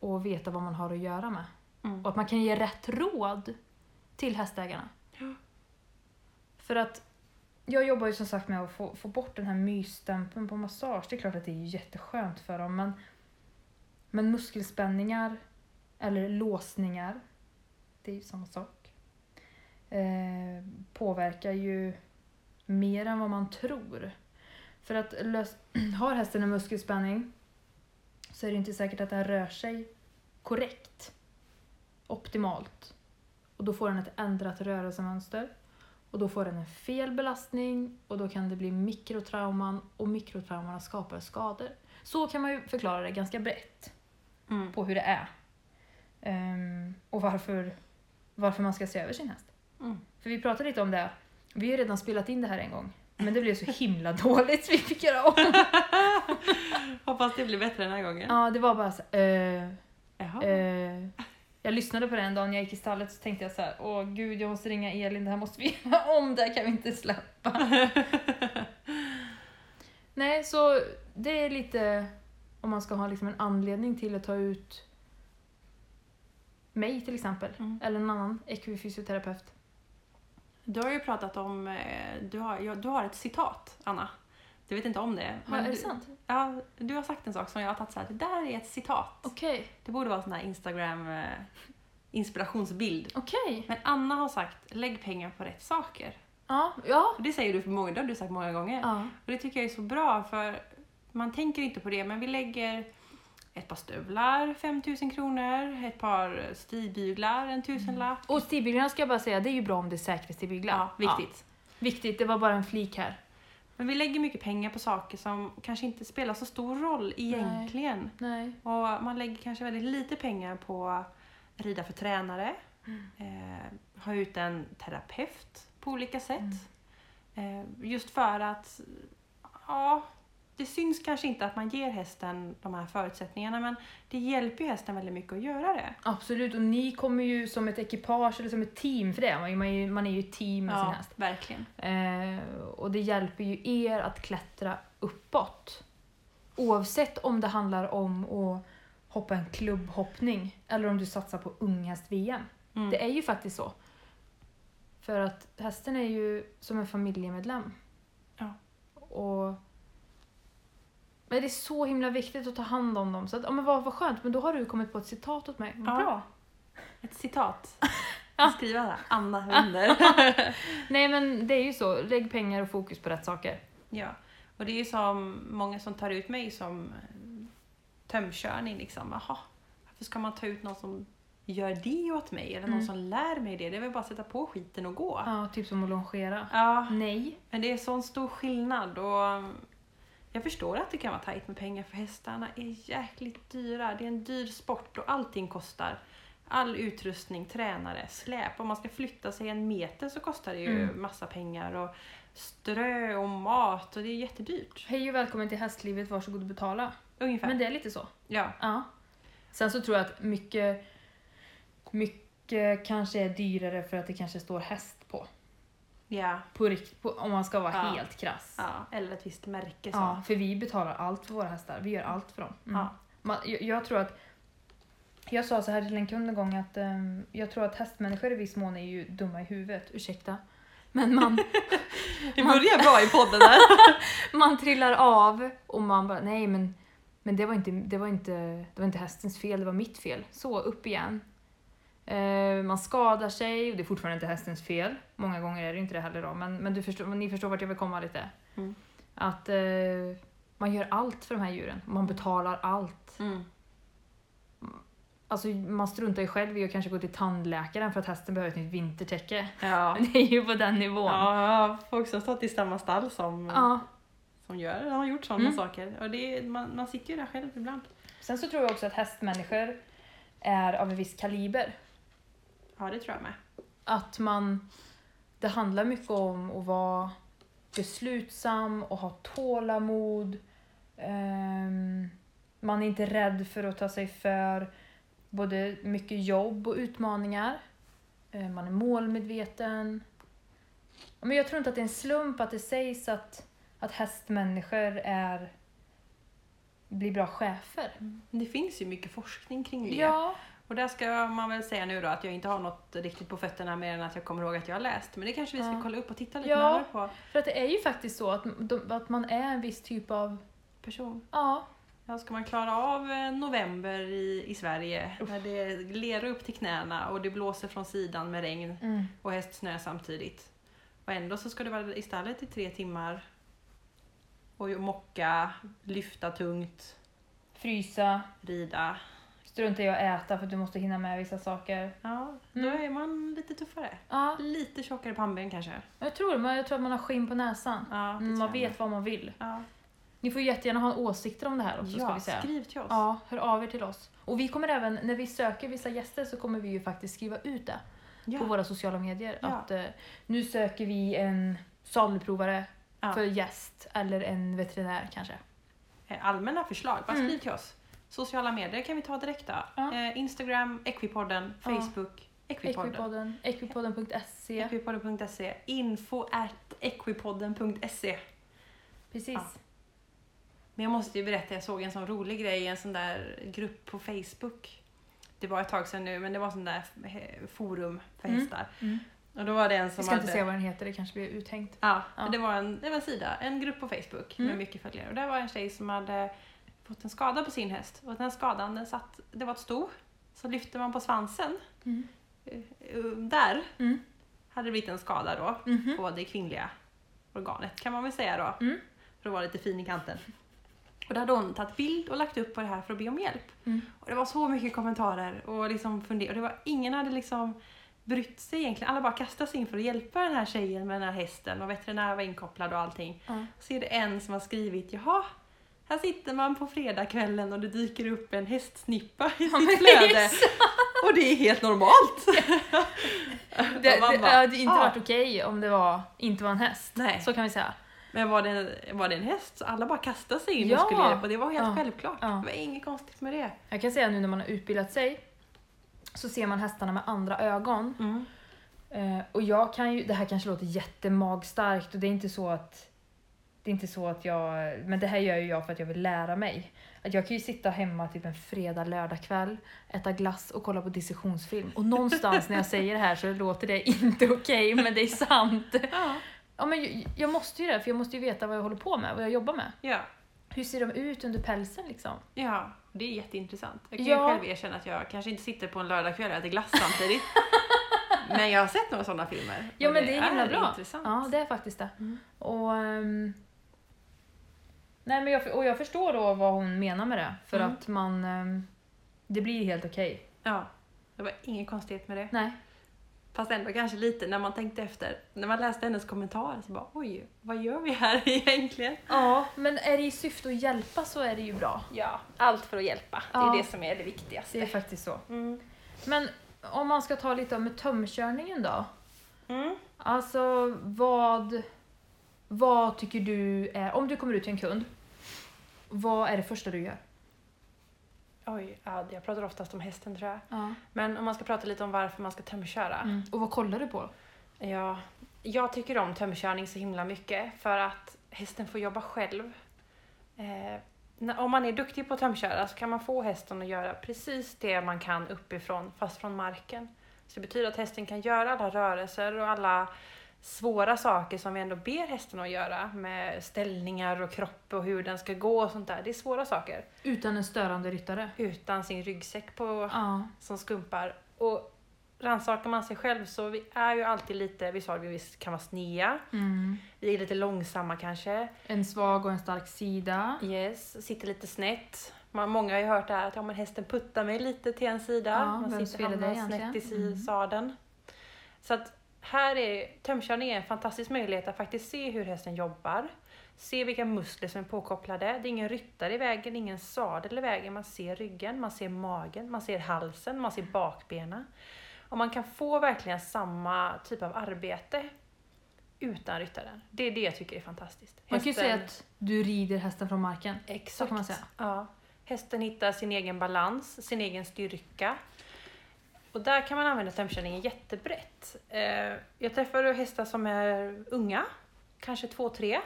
[SPEAKER 2] Och veta vad man har att göra med.
[SPEAKER 1] Mm.
[SPEAKER 2] Och att man kan ge rätt råd till hästägarna.
[SPEAKER 1] Ja.
[SPEAKER 2] För att jag jobbar ju som sagt med att få, få bort den här mysstämpeln på massage. Det är klart att det är jätteskönt för dem men Men muskelspänningar eller låsningar, det är ju samma sak, eh, påverkar ju mer än vad man tror. För att lös- [CLEARS THROAT] har hästen en muskelspänning så är det inte säkert att den rör sig korrekt, optimalt. Och då får den ett ändrat rörelsemönster. Och då får den en fel belastning och då kan det bli mikrotrauman och mikrotrauman skapar skador. Så kan man ju förklara det ganska brett
[SPEAKER 1] Mm.
[SPEAKER 2] på hur det är. Ehm, och varför, varför man ska se över sin häst.
[SPEAKER 1] Mm.
[SPEAKER 2] För vi pratade lite om det, vi har ju redan spelat in det här en gång. Men det blev så himla [LAUGHS] dåligt så vi fick göra om.
[SPEAKER 1] Hoppas det blir bättre den här gången.
[SPEAKER 2] Ja, det var bara så eh,
[SPEAKER 1] Jaha.
[SPEAKER 2] eh, Jag lyssnade på det en dag när jag gick i stallet så tänkte jag så här, åh gud jag måste ringa Elin, det här måste vi göra [LAUGHS] om, det här kan vi inte släppa. Nej, så det är lite om man ska ha liksom en anledning till att ta ut mig till exempel,
[SPEAKER 1] Mm.
[SPEAKER 2] eller en annan ekvifysioterapeut.
[SPEAKER 1] Du har ju pratat om, eh, du har, ja, du har ett citat Anna. Du vet inte om det.
[SPEAKER 2] Ja, är det
[SPEAKER 1] du,
[SPEAKER 2] sant?
[SPEAKER 1] Ja, du har sagt en sak som jag har tagit så här, det där är ett citat.
[SPEAKER 2] Okej,
[SPEAKER 1] Det borde vara en sån här Instagram eh, inspirationsbild.
[SPEAKER 2] okej.
[SPEAKER 1] Men Anna har sagt, lägg pengar på rätt saker.
[SPEAKER 2] Ja, ja.
[SPEAKER 1] Och det säger du för många, det har du sagt många gånger.
[SPEAKER 2] ja.
[SPEAKER 1] Och det tycker jag är så bra för man tänker inte på det men vi lägger ett par stövlar, 5000 kronor, ett par stigbyglar, en tusenlapp.
[SPEAKER 2] Och stigbyglarna ska jag bara säga, det är ju bra om det är säkra stigbyglar.
[SPEAKER 1] Ja, viktigt.
[SPEAKER 2] Viktigt, det var bara en flik här.
[SPEAKER 1] Men vi lägger mycket pengar på saker som kanske inte spelar så stor roll egentligen.
[SPEAKER 2] Nej.
[SPEAKER 1] Och man lägger kanske väldigt lite pengar på att rida för tränare,
[SPEAKER 2] Mm.
[SPEAKER 1] eh, ha ut en terapeut på olika sätt.
[SPEAKER 2] Mm.
[SPEAKER 1] Eh, just för att, ja, det syns kanske inte att man ger hästen de här förutsättningarna men det hjälper ju hästen väldigt mycket att göra det.
[SPEAKER 2] Absolut, och ni kommer ju som ett ekipage eller som ett team för det. Man är ju- man är ju, man är ju ett team med sin häst.
[SPEAKER 1] verkligen.
[SPEAKER 2] Eh, och det hjälper ju er att klättra uppåt. Oavsett om det handlar om att hoppa en klubbhoppning eller om du satsar på unghäst-VM.
[SPEAKER 1] Mm.
[SPEAKER 2] Det är ju faktiskt så. För att hästen är ju som en familjemedlem.
[SPEAKER 1] Ja.
[SPEAKER 2] Och... Men det är så himla viktigt att ta hand om dem. Så att, ja, men vad, vad skönt, men då har du kommit på ett citat åt mig. Vad
[SPEAKER 1] Ja.
[SPEAKER 2] Bra!
[SPEAKER 1] Ett citat.
[SPEAKER 2] [LAUGHS]
[SPEAKER 1] Jag ska Skriva det. Anna [LAUGHS] Wunder.
[SPEAKER 2] Nej men det är ju så, lägg pengar och fokus på rätt saker.
[SPEAKER 1] Ja, och det är ju som många som tar ut mig som eh, tömkörning. Liksom. Jaha, varför ska man ta ut någon som gör det åt mig? Eller någon
[SPEAKER 2] Mm.
[SPEAKER 1] som lär mig det? Det är väl bara att sätta på skiten och gå.
[SPEAKER 2] Ja, typ som att longera.
[SPEAKER 1] Ja,
[SPEAKER 2] Nej.
[SPEAKER 1] men det är sån stor skillnad. Och eh, jag förstår att det kan vara tajt med pengar för hästarna är jäkligt dyra. Det är en dyr sport och allting kostar. All utrustning, tränare, släp. Om man ska flytta sig en meter så kostar det ju
[SPEAKER 2] Mm.
[SPEAKER 1] massa pengar. Och strö och mat och det är jättedyrt.
[SPEAKER 2] Hej och välkommen till hästlivet, varsågod och betala.
[SPEAKER 1] Ungefär.
[SPEAKER 2] Men det är lite så.
[SPEAKER 1] Ja.
[SPEAKER 2] Ja. Sen så tror jag att mycket, mycket kanske är dyrare för att det kanske står häst på.
[SPEAKER 1] Ja.
[SPEAKER 2] på, rikt, på om man ska vara
[SPEAKER 1] Ja.
[SPEAKER 2] helt krass.
[SPEAKER 1] ja. Eller ett visst märke. Så.
[SPEAKER 2] Ja, för vi betalar allt för våra hästar. Vi gör allt för dem. Mm.
[SPEAKER 1] Ja.
[SPEAKER 2] Man, jag, jag tror att jag sa så här till en kund en gång att ehm, jag tror att hästmänniskor i viss mån är ju dumma i huvudet, ursäkta. Men [LAUGHS] man,
[SPEAKER 1] Det börjar bra i podden här.
[SPEAKER 2] [LAUGHS] man trillar av och man bara nej men, men det, var inte, det, var inte, det var inte hästens fel, det var mitt fel. Så, upp igen. Eh, man skadar sig och det är fortfarande inte hästens fel. Många gånger är det inte det heller då, men, men du förstår, ni förstår vart jag vill komma lite.
[SPEAKER 1] Mm.
[SPEAKER 2] Att eh, man gör allt för de här djuren, man betalar allt.
[SPEAKER 1] Mm.
[SPEAKER 2] Alltså man struntar ju själv i att kanske gå till tandläkaren för att hästen behöver ett nytt vintertäcke.
[SPEAKER 1] Ja.
[SPEAKER 2] [LAUGHS] Det är ju på den nivån.
[SPEAKER 1] ja, folk som stått i samma stall som,
[SPEAKER 2] Ja.
[SPEAKER 1] som gör, har gjort sådana
[SPEAKER 2] Mm.
[SPEAKER 1] saker. Och det, är- man, man sitter ju där själv ibland.
[SPEAKER 2] Sen så tror jag också att hästmänniskor är av en viss kaliber.
[SPEAKER 1] Ja, det tror jag med.
[SPEAKER 2] att man... Det handlar mycket om att vara beslutsam och ha tålamod. Ehm, man är inte rädd för att ta sig för både mycket jobb och utmaningar. Ehm, man är målmedveten. Ja, Men jag tror inte att det är en slump att det sägs att, att hästmänniskor är, blir bra chefer.
[SPEAKER 1] Det finns ju mycket forskning kring det. Och där ska man väl säga nu då att jag inte har något riktigt på fötterna mer än att jag kommer ihåg att jag har läst. Men det kanske vi ska
[SPEAKER 2] Ja.
[SPEAKER 1] kolla upp och titta lite
[SPEAKER 2] Ja.
[SPEAKER 1] närmare på.
[SPEAKER 2] För att det är ju faktiskt så att, de, att man är en viss typ av
[SPEAKER 1] Person.
[SPEAKER 2] Ja,
[SPEAKER 1] Ja, ska man klara av eh, november i, i Sverige när det är lera upp till knäna och det blåser från sidan med regn och hästsnö samtidigt. Och ändå så ska du vara i stallet i tre timmar och mocka, lyfta tungt,
[SPEAKER 2] Frysa,
[SPEAKER 1] rida.
[SPEAKER 2] strunta i att äta för att du måste hinna med vissa saker.
[SPEAKER 1] Ja, då
[SPEAKER 2] Mm.
[SPEAKER 1] är man lite tuffare.
[SPEAKER 2] Ja,
[SPEAKER 1] Lite tjockare pannben kanske.
[SPEAKER 2] jag tror det. men Jag tror att man har skinn på näsan.
[SPEAKER 1] Ja, det tror
[SPEAKER 2] Mm, man
[SPEAKER 1] jag
[SPEAKER 2] vet
[SPEAKER 1] med.
[SPEAKER 2] vad man vill.
[SPEAKER 1] Ja,
[SPEAKER 2] Ni får jättegärna ha åsikter om det här också ska
[SPEAKER 1] ja
[SPEAKER 2] vi säga.
[SPEAKER 1] skriv till oss.
[SPEAKER 2] Ja, hör av er till oss. Och vi kommer även, när vi söker vissa gäster så kommer vi ju faktiskt skriva ut det
[SPEAKER 1] Ja.
[SPEAKER 2] på våra sociala medier.
[SPEAKER 1] Ja.
[SPEAKER 2] Att eh, nu söker vi en salprovare
[SPEAKER 1] Ja.
[SPEAKER 2] för gäst eller en veterinär kanske.
[SPEAKER 1] Eh, allmänna förslag, bara
[SPEAKER 2] Mm.
[SPEAKER 1] skriv till oss. Sociala medier kan vi ta direkta.
[SPEAKER 2] Ja.
[SPEAKER 1] Eh, Instagram, Equipodden,
[SPEAKER 2] Ja.
[SPEAKER 1] Facebook, Equipodden.
[SPEAKER 2] Equipodden, E. equipodden.se.
[SPEAKER 1] Equipodden.se, info at equipodden.se.
[SPEAKER 2] Precis.
[SPEAKER 1] Ja. Men jag måste ju berätta, jag såg en sån rolig grej i en sån där grupp på Facebook. Det var ett tag sedan nu, men det var sån där eh, forum för
[SPEAKER 2] Mm.
[SPEAKER 1] hästar.
[SPEAKER 2] Mm.
[SPEAKER 1] Och då var det en som
[SPEAKER 2] Vi ska inte
[SPEAKER 1] hade...
[SPEAKER 2] säga vad den heter, det kanske blir uthängt.
[SPEAKER 1] Ja,
[SPEAKER 2] Ja.
[SPEAKER 1] men Det, var en, det var en sida, en grupp på Facebook
[SPEAKER 2] Mm.
[SPEAKER 1] med mycket följare. Och där var en tjej som hade fått en skada på sin häst. Och den skadan, den satt, det var ett sto. Så lyfte man på svansen,
[SPEAKER 2] Mm.
[SPEAKER 1] eh, eh, där
[SPEAKER 2] Mm.
[SPEAKER 1] hade det blivit en skada då
[SPEAKER 2] Mhm.
[SPEAKER 1] på det kvinnliga organet kan man väl säga då.
[SPEAKER 2] Mm.
[SPEAKER 1] För att vara lite fin i kanten. Och då hade hon tagit bild och lagt upp på det här för att be om hjälp.
[SPEAKER 2] Mm.
[SPEAKER 1] Och det var så mycket kommentarer och liksom funder- och det var Ingen hade liksom brytt sig egentligen. Alla bara kastade sig in för att hjälpa den här tjejen med den här hästen och veterinär var inkopplad och allting.
[SPEAKER 2] Ja.
[SPEAKER 1] Så är det en som har skrivit, jaha, här sitter man på fredagskvällen och det dyker upp en hästsnippa [LAUGHS] i
[SPEAKER 2] Ja,
[SPEAKER 1] sitt
[SPEAKER 2] men
[SPEAKER 1] flöde.
[SPEAKER 2] yes.
[SPEAKER 1] Och det är helt normalt.
[SPEAKER 2] [LAUGHS] Det,
[SPEAKER 1] Och man
[SPEAKER 2] det, det
[SPEAKER 1] bara,
[SPEAKER 2] hade inte
[SPEAKER 1] "Ah."
[SPEAKER 2] varit okej om det var, inte var en häst.
[SPEAKER 1] Nej.
[SPEAKER 2] Så kan vi säga.
[SPEAKER 1] Men var det, var det en häst så alla bara kastade sig in
[SPEAKER 2] Ja.
[SPEAKER 1] och skulle hjälpa. Det var helt
[SPEAKER 2] Ja.
[SPEAKER 1] självklart.
[SPEAKER 2] Ja.
[SPEAKER 1] Det var inget konstigt med det.
[SPEAKER 2] Jag kan säga nu när man har utbildat sig så ser man hästarna med andra ögon. Eh, och jag kan ju, det här kanske låter jättemagstarkt och det är inte så att det är inte så att jag, men det här gör ju jag för att jag vill lära mig. Att jag kan ju sitta hemma typ en fredag, lördag kväll, äta glass och kolla på dissektionsfilm. Och någonstans när jag säger det här så låter det inte okej, men det är sant.
[SPEAKER 1] Ja.
[SPEAKER 2] Ja, men jag, jag måste ju det, för jag måste ju veta vad jag håller på med, vad jag jobbar med.
[SPEAKER 1] Ja.
[SPEAKER 2] Hur ser de ut under pälsen liksom?
[SPEAKER 1] ja, det är jätteintressant. Jag kan
[SPEAKER 2] Ja.
[SPEAKER 1] ju själv erkänna att jag kanske inte sitter på en lördagkväll och äter glass samtidigt.
[SPEAKER 2] [LAUGHS]
[SPEAKER 1] men jag har sett några sådana filmer.
[SPEAKER 2] Ja
[SPEAKER 1] och
[SPEAKER 2] men det är himla bra.
[SPEAKER 1] intressant.
[SPEAKER 2] Ja det är faktiskt det.
[SPEAKER 1] Mm.
[SPEAKER 2] Och, ehm, nej, men jag, och jag förstår då vad hon menar med det. För
[SPEAKER 1] Mm.
[SPEAKER 2] att man... ehm, det blir helt okej.
[SPEAKER 1] Ja. Det var ingen konstighet med det.
[SPEAKER 2] Nej.
[SPEAKER 1] Fast ändå kanske lite när man tänkte efter. När man läste hennes kommentarer så bara oj, vad gör vi här [LAUGHS] egentligen?
[SPEAKER 2] Ja, men är det i syfte att hjälpa så är det ju bra.
[SPEAKER 1] Ja, allt för att hjälpa.
[SPEAKER 2] Det är det
[SPEAKER 1] som är det
[SPEAKER 2] Det är
[SPEAKER 1] viktigaste.
[SPEAKER 2] faktiskt så.
[SPEAKER 1] Mm.
[SPEAKER 2] Men om man ska ta lite om med tömkörningen då.
[SPEAKER 1] Mm.
[SPEAKER 2] Alltså vad... Vad tycker du är... Om du kommer ut till en kund, vad är det första du gör?
[SPEAKER 1] Oj, ja, jag pratar oftast om hästen tror jag. Men om man ska prata lite om varför man ska tömköra.
[SPEAKER 2] Mm. Och vad kollar du på?
[SPEAKER 1] Ja, jag tycker om tömkörning så himla mycket för att hästen får jobba själv. Eh, när- om man är duktig på att tömköra så kan man få hästen att göra precis det man kan uppifrån, fast från marken. Så det betyder att hästen kan göra alla rörelser och alla svåra saker som vi ändå ber hästen att göra med ställningar och kropp och hur den ska gå och sånt där. Det är svåra saker.
[SPEAKER 2] Utan en störande ryttare?
[SPEAKER 1] Utan sin ryggsäck på
[SPEAKER 2] Ja.
[SPEAKER 1] som skumpar. Och rannsakar man sig själv så vi är ju alltid lite, vi sa det, vi kan vara snea,
[SPEAKER 2] Mm.
[SPEAKER 1] vi är lite långsamma kanske,
[SPEAKER 2] En svag och en stark sida.
[SPEAKER 1] yes, sitter lite snett. Man, många har ju hört det här att ja, men hästen puttar mig lite till en sida,
[SPEAKER 2] Ja,
[SPEAKER 1] man
[SPEAKER 2] vems
[SPEAKER 1] sitter
[SPEAKER 2] fel är det
[SPEAKER 1] hamnar snett i
[SPEAKER 2] egentligen?
[SPEAKER 1] si-
[SPEAKER 2] Mm.
[SPEAKER 1] sadeln. Så att här är tömkörning är en fantastisk möjlighet att faktiskt se hur hästen jobbar, se vilka muskler som är påkopplade. Det är ingen ryttare i vägen, ingen sadel i vägen. Man ser ryggen, man ser magen, man ser halsen, man ser bakbenen. Och man kan få verkligen samma typ av arbete utan ryttaren. Det är det jag tycker är fantastiskt.
[SPEAKER 2] Man kan ju
[SPEAKER 1] Hästen-
[SPEAKER 2] säga att du rider hästen från marken.
[SPEAKER 1] Exakt.
[SPEAKER 2] Så kan man säga.
[SPEAKER 1] Ja. Hästen hittar sin egen balans, sin egen styrka. Och där kan man använda tömkörningen jättebrett. Eh, Jag träffar hästar som är unga, kanske två, tre,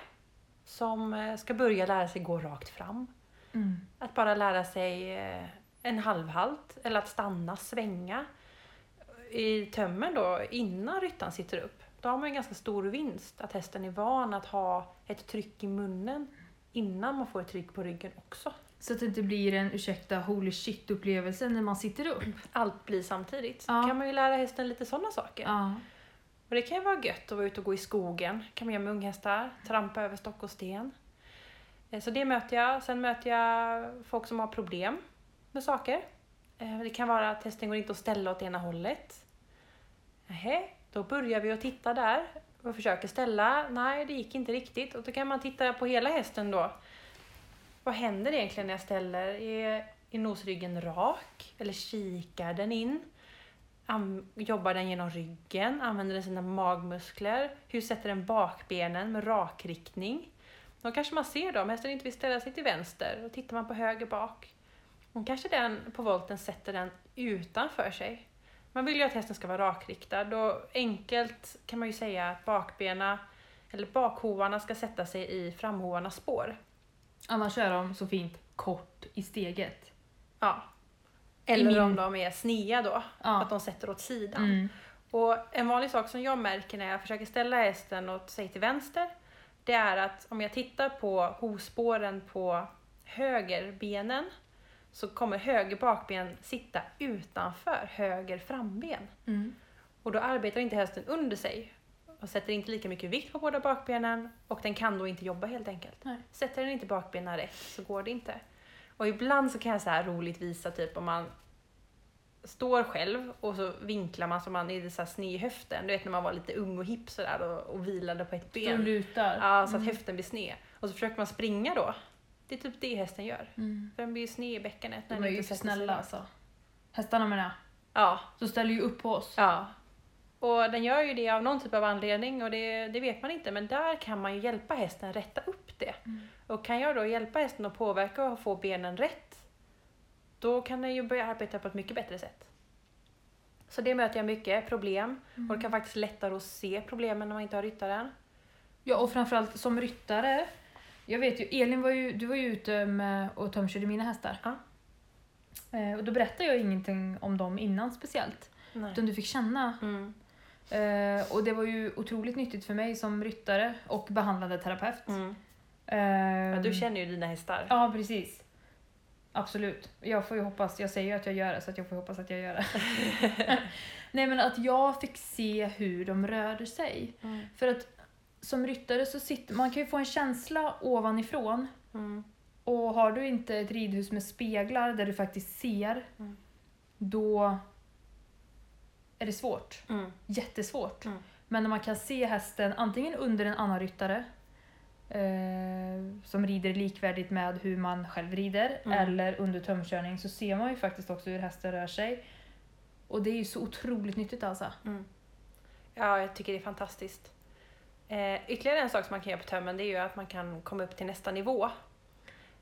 [SPEAKER 1] som eh, ska börja lära sig gå rakt fram.
[SPEAKER 2] Mm.
[SPEAKER 1] Att bara lära sig eh, en halvhalt eller att stanna, svänga i tömmen då innan ryttaren sitter upp. Då har man ju en ganska stor vinst att hästen är van att ha ett tryck i munnen innan man får ett tryck på ryggen också.
[SPEAKER 2] Så att det inte blir en ursäkta holy shit-upplevelse när man sitter upp.
[SPEAKER 1] Allt blir samtidigt.
[SPEAKER 2] Ja.
[SPEAKER 1] kan man ju lära hästen lite sådana saker.
[SPEAKER 2] Ja.
[SPEAKER 1] Och det kan ju vara gött att vara ute och gå i skogen. kan man göra med unghästar. Trampa över stock och sten. Eh, Så det möter jag. Sen möter jag folk som har problem med saker. Eh, Det kan vara att hästen går inte att ställa åt ena hållet. Nähä, då börjar vi att titta där och försöker ställa. Nej, det gick inte riktigt. Och då kan man titta på hela hästen då. Vad händer egentligen när jag ställer? Är, är nosryggen rak? Eller kikar den in? An- jobbar den genom ryggen? Använder den sina magmuskler? Hur sätter den bakbenen med rakriktning? Då kanske man ser då, om hästen inte vill ställa sig till vänster, och tittar man på höger bak. Och kanske den på volten sätter den utanför sig. Man vill ju att hästen ska vara rakriktad och enkelt kan man ju säga att bakbena eller bakhovarna ska sätta sig i framhovarnas spår.
[SPEAKER 2] Annars är de så fint kort i steget.
[SPEAKER 1] Ja.
[SPEAKER 2] I
[SPEAKER 1] Eller
[SPEAKER 2] min-
[SPEAKER 1] om de är snea då, att
[SPEAKER 2] Ja.
[SPEAKER 1] de sätter åt sidan.
[SPEAKER 2] Mm.
[SPEAKER 1] Och en vanlig sak som jag märker när jag försöker ställa hästen åt sig till vänster, det är att om jag tittar på hovspåren på högerbenen så kommer höger bakben sitta utanför höger framben.
[SPEAKER 2] Mm.
[SPEAKER 1] Och då arbetar inte hästen under sig och sätter inte lika mycket vikt på båda bakbenen och den kan då inte jobba helt enkelt.
[SPEAKER 2] Nej.
[SPEAKER 1] Sätter den inte bakbenen rätt så går det inte. Och ibland så kan jag så här roligt visa typ om man står själv och så vinklar man så man är lite så här sned i höften. Du vet när man var lite ung och hipp sådär och, och vilade på ett
[SPEAKER 2] De
[SPEAKER 1] ben.
[SPEAKER 2] lutar.
[SPEAKER 1] Ja, så att höften blir sned. Och så försöker man springa då. Det är typ det hästen gör.
[SPEAKER 2] Mm.
[SPEAKER 1] För den blir ju sned i bäckenet.
[SPEAKER 2] De
[SPEAKER 1] den
[SPEAKER 2] är ju
[SPEAKER 1] inte
[SPEAKER 2] för
[SPEAKER 1] sätter sig
[SPEAKER 2] snälla
[SPEAKER 1] ner.
[SPEAKER 2] alltså. Hästarna menar
[SPEAKER 1] Ja,
[SPEAKER 2] jag. De ställer ju upp på oss.
[SPEAKER 1] Ja. Och den gör ju det av någon typ av anledning och det, det vet man inte men där kan man ju hjälpa hästen rätta upp det.
[SPEAKER 2] Mm.
[SPEAKER 1] Och kan jag då hjälpa hästen att påverka och få benen rätt, då kan den ju börja arbeta på ett mycket bättre sätt. Så det möter jag mycket, problem. Och
[SPEAKER 2] Mm.
[SPEAKER 1] det kan faktiskt lättare att se problemen när man inte har ryttaren.
[SPEAKER 2] Ja, och framförallt som ryttare. Jag vet ju, Elin var ju, du var ju ute med och tömkörde mina hästar.
[SPEAKER 1] Ja.
[SPEAKER 2] Eh, och då berättade jag ingenting om dem innan speciellt.
[SPEAKER 1] Nej.
[SPEAKER 2] Utan du fick känna.
[SPEAKER 1] Mm.
[SPEAKER 2] Eh, och det var ju otroligt nyttigt för mig som ryttare och behandlande terapeut.
[SPEAKER 1] Mm.
[SPEAKER 2] Eh,
[SPEAKER 1] Ja, du känner ju dina hästar.
[SPEAKER 2] Ja, precis. Absolut. Jag får ju hoppas, jag säger ju att jag gör det så att jag får hoppas att jag gör det.
[SPEAKER 1] [LAUGHS]
[SPEAKER 2] [LAUGHS] Nej men att jag fick se hur de rörde sig.
[SPEAKER 1] Mm.
[SPEAKER 2] För att som ryttare så sitter, man kan ju få en känsla ovanifrån
[SPEAKER 1] Mm.
[SPEAKER 2] och har du inte ett ridhus med speglar där du faktiskt ser,
[SPEAKER 1] Mm.
[SPEAKER 2] då är det svårt.
[SPEAKER 1] Mm.
[SPEAKER 2] Jättesvårt.
[SPEAKER 1] Mm.
[SPEAKER 2] Men när man kan se hästen antingen under en annan ryttare eh, som rider likvärdigt med hur man själv rider
[SPEAKER 1] Mm.
[SPEAKER 2] eller under tömkörning så ser man ju faktiskt också hur hästen rör sig. Och det är ju så otroligt nyttigt alltså.
[SPEAKER 1] Mm. Ja, jag tycker det är fantastiskt. Eh, ytterligare en sak som man kan göra på tömmen det är ju att man kan komma upp till nästa nivå.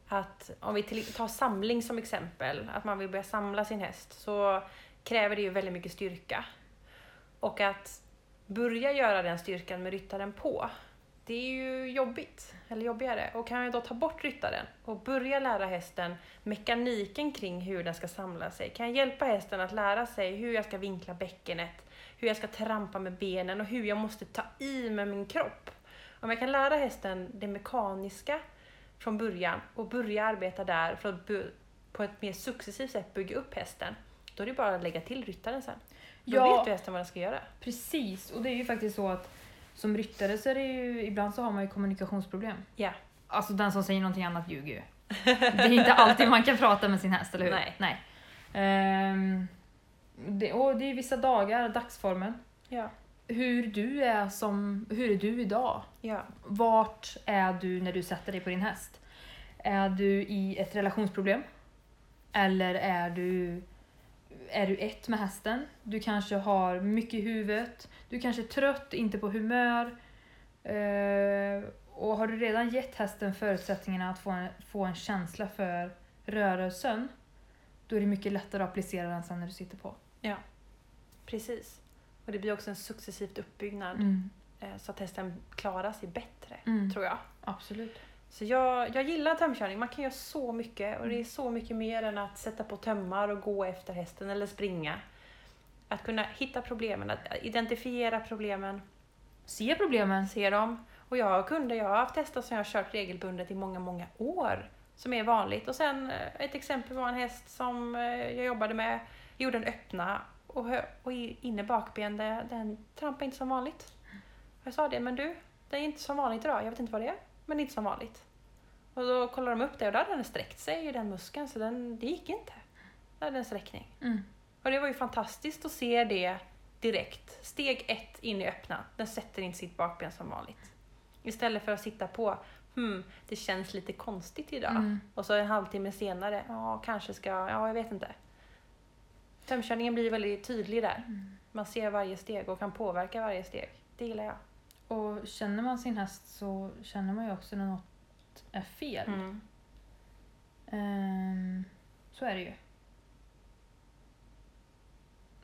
[SPEAKER 1] Att om vi till, tar samling som exempel, att man vill börja samla sin häst, så kräver det ju väldigt mycket styrka. Och att börja göra den styrkan med ryttaren på, det är ju jobbigt, eller jobbigare. Och kan jag då ta bort ryttaren och börja lära hästen mekaniken kring hur den ska samla sig? Kan jag hjälpa hästen att lära sig hur jag ska vinkla bäckenet, hur jag ska trampa med benen och hur jag måste ta i med min kropp? Om jag kan lära hästen det mekaniska från början och börja arbeta där för att bu- på ett mer successivt sätt bygga upp hästen, då är det bara att lägga till ryttaren sen. Då
[SPEAKER 2] Ja.
[SPEAKER 1] vet du hästen vad den ska göra.
[SPEAKER 2] Precis, och det är ju faktiskt så att som ryttare så är det ju, ibland så har man ju kommunikationsproblem.
[SPEAKER 1] Ja.
[SPEAKER 2] Alltså den som säger någonting annat ljuger ju. Det är inte alltid man kan prata med sin häst, eller hur?
[SPEAKER 1] Nej.
[SPEAKER 2] Nej. Ehm, det, och det är vissa dagar, dagsformen.
[SPEAKER 1] Ja.
[SPEAKER 2] Hur du är som, hur är du idag?
[SPEAKER 1] Ja.
[SPEAKER 2] Vart är du när du sätter dig på din häst? Är du i ett relationsproblem? Eller är du, är du ett med hästen? Du kanske har mycket i huvudet. Du kanske är trött, inte på humör. Eh, och har du redan gett hästen förutsättningarna att få en, få en känsla för rörelsen, då är det mycket lättare att applicera den sen när du sitter på.
[SPEAKER 1] Precis. Och det blir också en successivt uppbyggnad
[SPEAKER 2] Mm.
[SPEAKER 1] eh, så att hästen klarar sig bättre,
[SPEAKER 2] Mm.
[SPEAKER 1] tror jag.
[SPEAKER 2] Absolut.
[SPEAKER 1] Så jag, jag gillar tömkörning, man kan göra så mycket och det är så mycket mer än att sätta på tömmar och gå efter hästen eller springa. Att kunna hitta problemen, att identifiera problemen,
[SPEAKER 2] Se problemen.
[SPEAKER 1] se dem. Och jag har kunder, jag har haft hästar som jag har kört regelbundet i många, många år som är vanligt. Och sen eh, ett exempel var en häst som eh, jag jobbade med, gjorde en öppna och, hö- och i- inne bakben, det- den trampade inte som vanligt. Jag sa det, men du, det är inte som vanligt idag, jag vet inte vad det är, men det är inte som vanligt. Och då kollade de upp det och då hade den sträckt sig i den muskeln, så den, det gick inte. Då hade den sträckning.
[SPEAKER 2] Mm.
[SPEAKER 1] Och det var ju fantastiskt att se det direkt. Steg ett in i öppna. Den sätter in sitt bakben som vanligt. Istället för att sitta på, hmm, det känns lite konstigt idag.
[SPEAKER 2] Mm.
[SPEAKER 1] Och så en halvtimme senare, ja kanske ska, ja jag vet inte. Tömkörningen blir väldigt tydlig där.
[SPEAKER 2] Mm.
[SPEAKER 1] Man ser varje steg och kan påverka varje steg. Det gillar jag.
[SPEAKER 2] Och känner man sin häst så känner man ju också när något är fel.
[SPEAKER 1] Mm.
[SPEAKER 2] Ehm, så är det ju.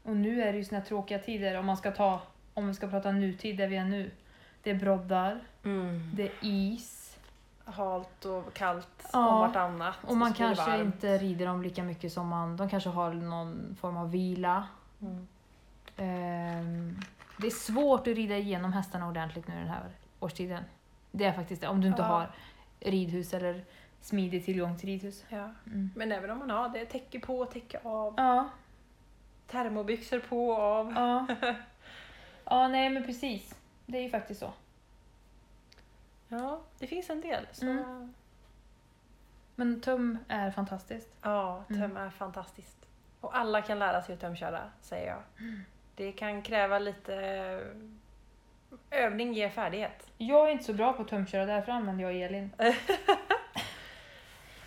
[SPEAKER 2] Och nu är det ju såna här tråkiga tider om man ska ta, om vi ska prata nutid där vi är nu. Det är broddar, det är is
[SPEAKER 1] Mm. Halt och kallt
[SPEAKER 2] Ja.
[SPEAKER 1] och vartannat.
[SPEAKER 2] och man
[SPEAKER 1] Alltså, så blir det
[SPEAKER 2] kanske
[SPEAKER 1] varmt.
[SPEAKER 2] inte rider dem lika mycket som man, de kanske har någon form av vila.
[SPEAKER 1] Mm.
[SPEAKER 2] Ehm, det är svårt att rida igenom hästarna ordentligt nu den här årstiden. Det är faktiskt det, om du inte
[SPEAKER 1] Ja.
[SPEAKER 2] har ridhus eller smidig tillgång till ridhus.
[SPEAKER 1] Ja.
[SPEAKER 2] Mm.
[SPEAKER 1] Men även om man har det, täcke på, täcke av,
[SPEAKER 2] Ja,
[SPEAKER 1] termobyxor på och av.
[SPEAKER 2] ja. [LAUGHS] ja, nej men precis. Det är ju faktiskt så.
[SPEAKER 1] Ja, det finns en del. Så...
[SPEAKER 2] Mm. Men töm är fantastiskt.
[SPEAKER 1] Ja, töm
[SPEAKER 2] Mm.
[SPEAKER 1] är fantastiskt. Och alla kan lära sig att tömköra, säger jag.
[SPEAKER 2] Mm.
[SPEAKER 1] Det kan kräva lite eh, övning ger färdighet.
[SPEAKER 2] Jag är inte så bra på att tömköra, därför använder jag Elin. [LAUGHS] Men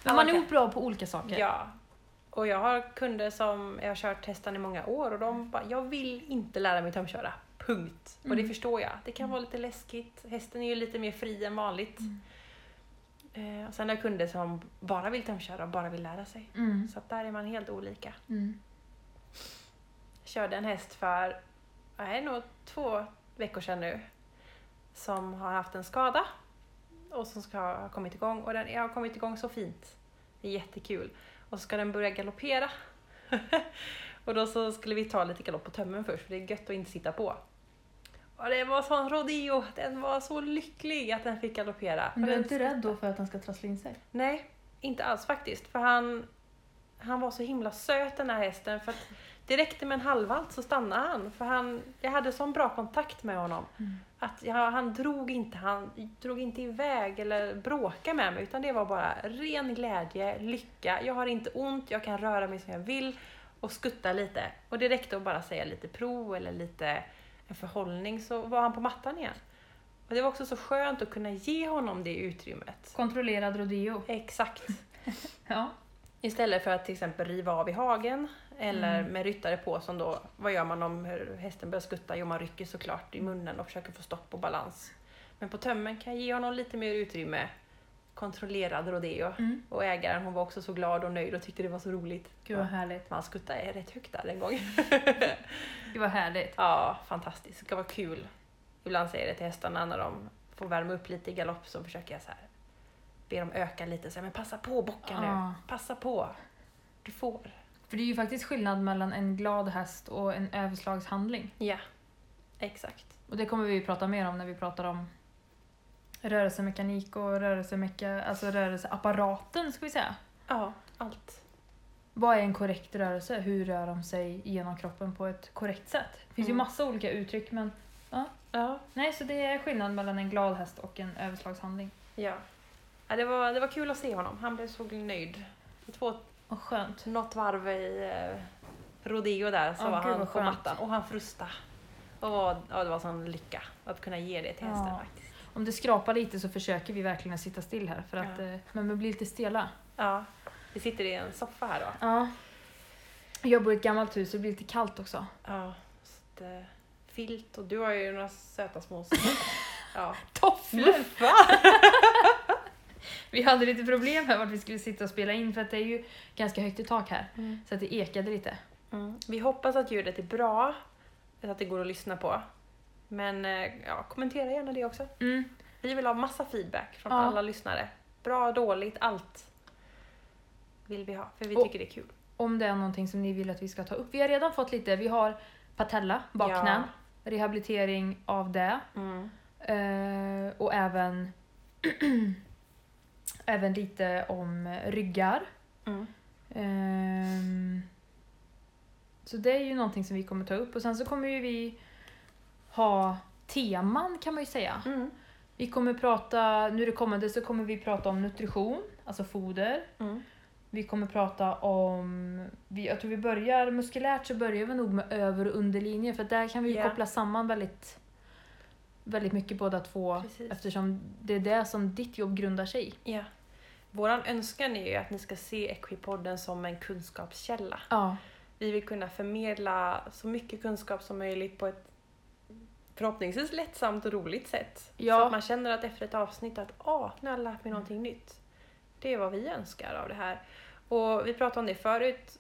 [SPEAKER 1] Ja,
[SPEAKER 2] man är
[SPEAKER 1] okej.
[SPEAKER 2] nog bra på olika saker.
[SPEAKER 1] Ja. Och jag har kunder som jag har kört hästarna i många år och de bara, jag vill inte lära mig tömköra. Punkt. Och det
[SPEAKER 2] Mm. Mm.
[SPEAKER 1] förstår jag. Det kan vara lite läskigt. Hästen är ju lite mer fri än vanligt. Eh, och sen har jag kunder som bara vill tömköra och bara vill lära sig.
[SPEAKER 2] Mm.
[SPEAKER 1] Så att där är man helt olika.
[SPEAKER 2] Mm.
[SPEAKER 1] körde en häst för, nej nog två veckor sedan nu, som har haft en skada och som ska ha kommit igång. Och den har kommit igång så fint. Det är jättekul. Och så ska den börja galoppera. [LAUGHS] och då så skulle vi ta lite galopp på tömmen först, för det är gött att inte sitta på. Och det var sån rodeo, den var så lycklig att den fick galoppera.
[SPEAKER 2] Men
[SPEAKER 1] Och
[SPEAKER 2] du är
[SPEAKER 1] den
[SPEAKER 2] inte rädd då för att den ska trassla in sig?
[SPEAKER 1] Nej, inte alls faktiskt. För han, han var så himla söt den här hästen. För att det räckte med en halvvalt så stannade han. För han, jag hade sån bra kontakt med honom. Att jag, han, drog inte, han drog inte iväg eller bråkade med mig. Utan det var bara ren glädje, lycka. Jag har inte ont, jag kan röra mig som jag vill och skutta lite. Och det räckte att bara säga lite prov eller lite en förhållning så var han på mattan igen. Och det var också så skönt att kunna ge honom det utrymmet.
[SPEAKER 2] Kontrollerad rodeo.
[SPEAKER 1] Exakt.
[SPEAKER 2] Ja.
[SPEAKER 1] Istället för att till exempel riva av i hagen eller
[SPEAKER 2] Mm.
[SPEAKER 1] med ryttare på som då, vad gör man om hästen börjar skutta? Jo, man rycker såklart i munnen och försöker få stopp och balans. Men på tömmen kan jag ge honom lite mer utrymme. Kontrollerad rodeo.
[SPEAKER 2] Mm.
[SPEAKER 1] Och ägaren hon var också så glad och nöjd och tyckte det var så roligt.
[SPEAKER 2] Gud vad härligt.
[SPEAKER 1] Man skuttade rätt högt där en gång. [LAUGHS]
[SPEAKER 2] Gud vad härligt.
[SPEAKER 1] ja, fantastiskt. Det ska vara kul. Ibland säger jag det till hästarna när de får värma upp lite i galopp så försöker jag så här be dem öka lite. Så här, men passa på bocka nu.
[SPEAKER 2] Ja.
[SPEAKER 1] Passa på. Du får.
[SPEAKER 2] För det är ju faktiskt skillnad mellan en glad häst och en överslagshandling.
[SPEAKER 1] Ja, exakt.
[SPEAKER 2] Och det kommer vi ju prata mer om när vi pratar om rörelsemekanik och rörelsemeka, alltså rörelseapparaten ska vi säga.
[SPEAKER 1] Ja, allt.
[SPEAKER 2] Vad är en korrekt rörelse? Hur rör de sig genom kroppen på ett korrekt sätt? Det finns
[SPEAKER 1] Mm.
[SPEAKER 2] ju massa olika uttryck men
[SPEAKER 1] Ja,
[SPEAKER 2] nej, så det är skillnad mellan en glad häst och en överslagshandling.
[SPEAKER 1] ja. ja det, var, det var kul att se honom. Han blev så nöjd. Två,
[SPEAKER 2] Och skönt.
[SPEAKER 1] något varv i eh, rodeo där så
[SPEAKER 2] Ja,
[SPEAKER 1] var
[SPEAKER 2] gud,
[SPEAKER 1] han
[SPEAKER 2] vad
[SPEAKER 1] på
[SPEAKER 2] skönt.
[SPEAKER 1] mattan och han frusta. Och var- ja, det var sån lycka att kunna ge det till hästen
[SPEAKER 2] Ja.
[SPEAKER 1] faktiskt.
[SPEAKER 2] Om det skrapar lite så försöker vi verkligen att sitta still här för att,
[SPEAKER 1] Ja.
[SPEAKER 2] eh, men vi blir lite stela.
[SPEAKER 1] Ja, vi sitter i en soffa här då.
[SPEAKER 2] Ja. Jag bor i ett gammalt hus så det blir lite kallt också.
[SPEAKER 1] Ja, så att, eh, filt och du har ju några söta små...
[SPEAKER 2] [LAUGHS]
[SPEAKER 1] ja.
[SPEAKER 2] Tofflor!
[SPEAKER 1] Luffa!
[SPEAKER 2] [LAUGHS] Vi hade lite problem här vart vi skulle sitta och spela in för att det är ju ganska högt i tak här.
[SPEAKER 1] Mm.
[SPEAKER 2] Så att det ekade lite.
[SPEAKER 1] Mm. Vi hoppas att ljudet är bra, att det går att lyssna på. Men eh, ja, kommentera gärna det också.
[SPEAKER 2] Mm.
[SPEAKER 1] Vi vill ha massa feedback från
[SPEAKER 2] Ja.
[SPEAKER 1] alla lyssnare. Bra, dåligt, allt vill vi ha, för vi
[SPEAKER 2] Och-
[SPEAKER 1] tycker det är kul.
[SPEAKER 2] Om det är någonting som ni vill att vi ska ta upp. Vi har redan fått lite. Vi har patella, bakknän, rehabilitering av det
[SPEAKER 1] Mm.
[SPEAKER 2] eh, och även [CLEARS THROAT] Även lite om ryggar.
[SPEAKER 1] Mm.
[SPEAKER 2] Ehm, så det är ju någonting som vi kommer ta upp och sen så kommer ju vi ha teman kan man ju säga.
[SPEAKER 1] Mm.
[SPEAKER 2] Vi kommer prata, nu det kommande så kommer vi prata om nutrition, alltså foder.
[SPEAKER 1] Mm.
[SPEAKER 2] Vi kommer prata om, vi, jag tror vi börjar muskulärt så börjar vi nog med över och underlinjer för att där kan vi ju
[SPEAKER 1] Ja.
[SPEAKER 2] koppla samman väldigt, väldigt mycket båda två
[SPEAKER 1] Precis.
[SPEAKER 2] eftersom det är det som ditt jobb grundar sig i.
[SPEAKER 1] Ja. Våran önskan är ju att ni ska se Equipodden som en kunskapskälla.
[SPEAKER 2] Ja,
[SPEAKER 1] Vi vill kunna förmedla så mycket kunskap som möjligt på ett förhoppningsvis lättsamt och roligt sätt.
[SPEAKER 2] Ja.
[SPEAKER 1] Så att man känner att efter ett avsnitt att ah, nu har jag lärt mig någonting nytt. Det är vad vi önskar av det här. Och vi pratade om det förut.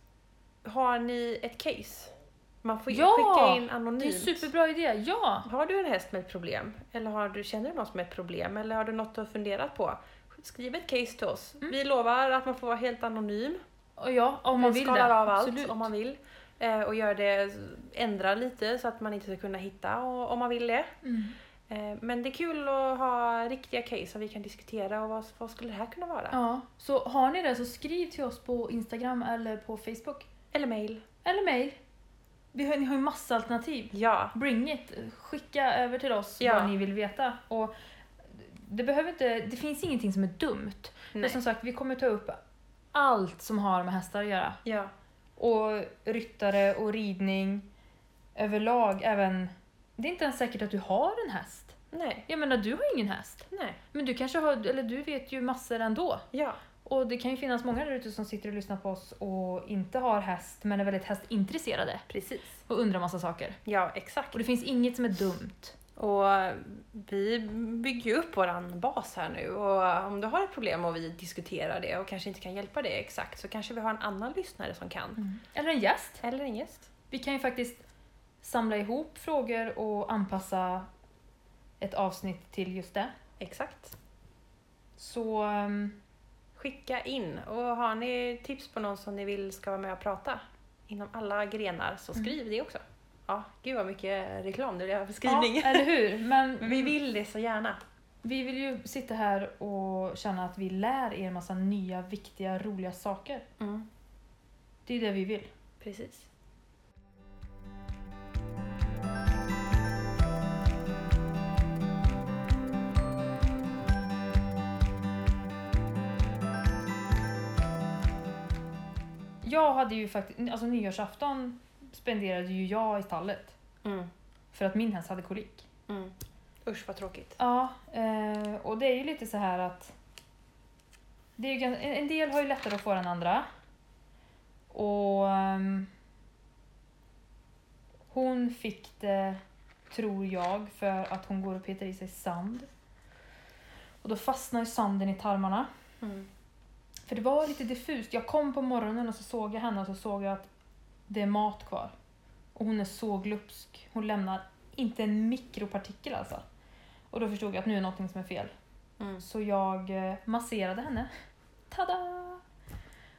[SPEAKER 1] Har ni ett case? Man får ju
[SPEAKER 2] Ja,
[SPEAKER 1] skicka in
[SPEAKER 2] det är en
[SPEAKER 1] anonymt.
[SPEAKER 2] superbra idé. Ja!
[SPEAKER 1] Har du en häst med ett problem? Eller har du, känner du någon som är ett problem? Eller har du något du har funderat på? Skriv ett case till oss.
[SPEAKER 2] Mm.
[SPEAKER 1] Vi lovar att man får vara helt anonym.
[SPEAKER 2] Och ja, om man
[SPEAKER 1] vi
[SPEAKER 2] vill
[SPEAKER 1] skalar
[SPEAKER 2] det.
[SPEAKER 1] av allt
[SPEAKER 2] Absolut.
[SPEAKER 1] om man vill. Eh, och gör det, ändra lite så att man inte ska kunna hitta och, om man vill det.
[SPEAKER 2] Mm.
[SPEAKER 1] Eh, men det är kul att ha riktiga case som vi kan diskutera och vad, vad skulle det här kunna vara?
[SPEAKER 2] Ja, så har ni det så skriv till oss på Instagram eller på Facebook.
[SPEAKER 1] Eller mail.
[SPEAKER 2] Eller mejl. Vi har, ni har ju massa alternativ.
[SPEAKER 1] Ja.
[SPEAKER 2] Bring it! Skicka över till oss
[SPEAKER 1] Ja.
[SPEAKER 2] vad ni vill veta. Och det, behöver inte, det finns ingenting som är dumt. För
[SPEAKER 1] Nej.
[SPEAKER 2] som sagt, vi kommer ta upp allt som har med hästar att göra.
[SPEAKER 1] Ja.
[SPEAKER 2] Och ryttare och ridning överlag. Även, det är inte ens säkert att du har en häst.
[SPEAKER 1] Nej.
[SPEAKER 2] Jag menar, du har ingen häst.
[SPEAKER 1] Nej.
[SPEAKER 2] Men du kanske har, eller du vet ju massor ändå.
[SPEAKER 1] Ja.
[SPEAKER 2] Och det kan ju finnas många där ute som sitter och lyssnar på oss och inte har häst men är väldigt hästintresserade
[SPEAKER 1] Precis.
[SPEAKER 2] och undrar massa saker.
[SPEAKER 1] Ja, exakt.
[SPEAKER 2] Och det finns inget som är dumt.
[SPEAKER 1] Och vi bygger ju upp våran bas här nu och om du har ett problem och vi diskuterar det och kanske inte kan hjälpa dig exakt så kanske vi har en annan lyssnare som
[SPEAKER 2] Mm.
[SPEAKER 1] kan.
[SPEAKER 2] Eller en gäst.
[SPEAKER 1] Eller en gäst.
[SPEAKER 2] Vi kan ju faktiskt samla ihop frågor och anpassa ett avsnitt till just det.
[SPEAKER 1] Exakt.
[SPEAKER 2] Så ehm,
[SPEAKER 1] Skicka in och har ni tips på någon som ni vill ska vara med och prata inom alla grenar så skriv det också. Ja, gud vad mycket reklam det blev för skrivning. [LAUGHS]
[SPEAKER 2] Mm. Ja, eh, eller hur? Men
[SPEAKER 1] Vi vill det så gärna.
[SPEAKER 2] vi vill ju sitta här och känna att vi lär er massa nya, viktiga, roliga saker. Det är ju det vi vill.
[SPEAKER 1] Precis.
[SPEAKER 2] Jag hade ju faktiskt, alltså nyårsafton spenderade ju jag i stallet för att min häst hade kolik.
[SPEAKER 1] Usch vad tråkigt.
[SPEAKER 2] Ja, eh, och det är ju lite så här att det är ju, gans- en en del har ju lättare att få än andra. Och ehm, hon fick det, tror jag, för att hon går och petar i sig sand. Och då fastnar ju sanden i tarmarna. Mm, För det var lite diffust. Jag kom på morgonen och så såg jag henne och så såg jag att det är mat kvar. Och hon är så glupsk. Hon lämnar inte en mikropartikel alltså. Och då förstod jag att nu är någonting som är fel. Så jag eh, masserade henne. Tada!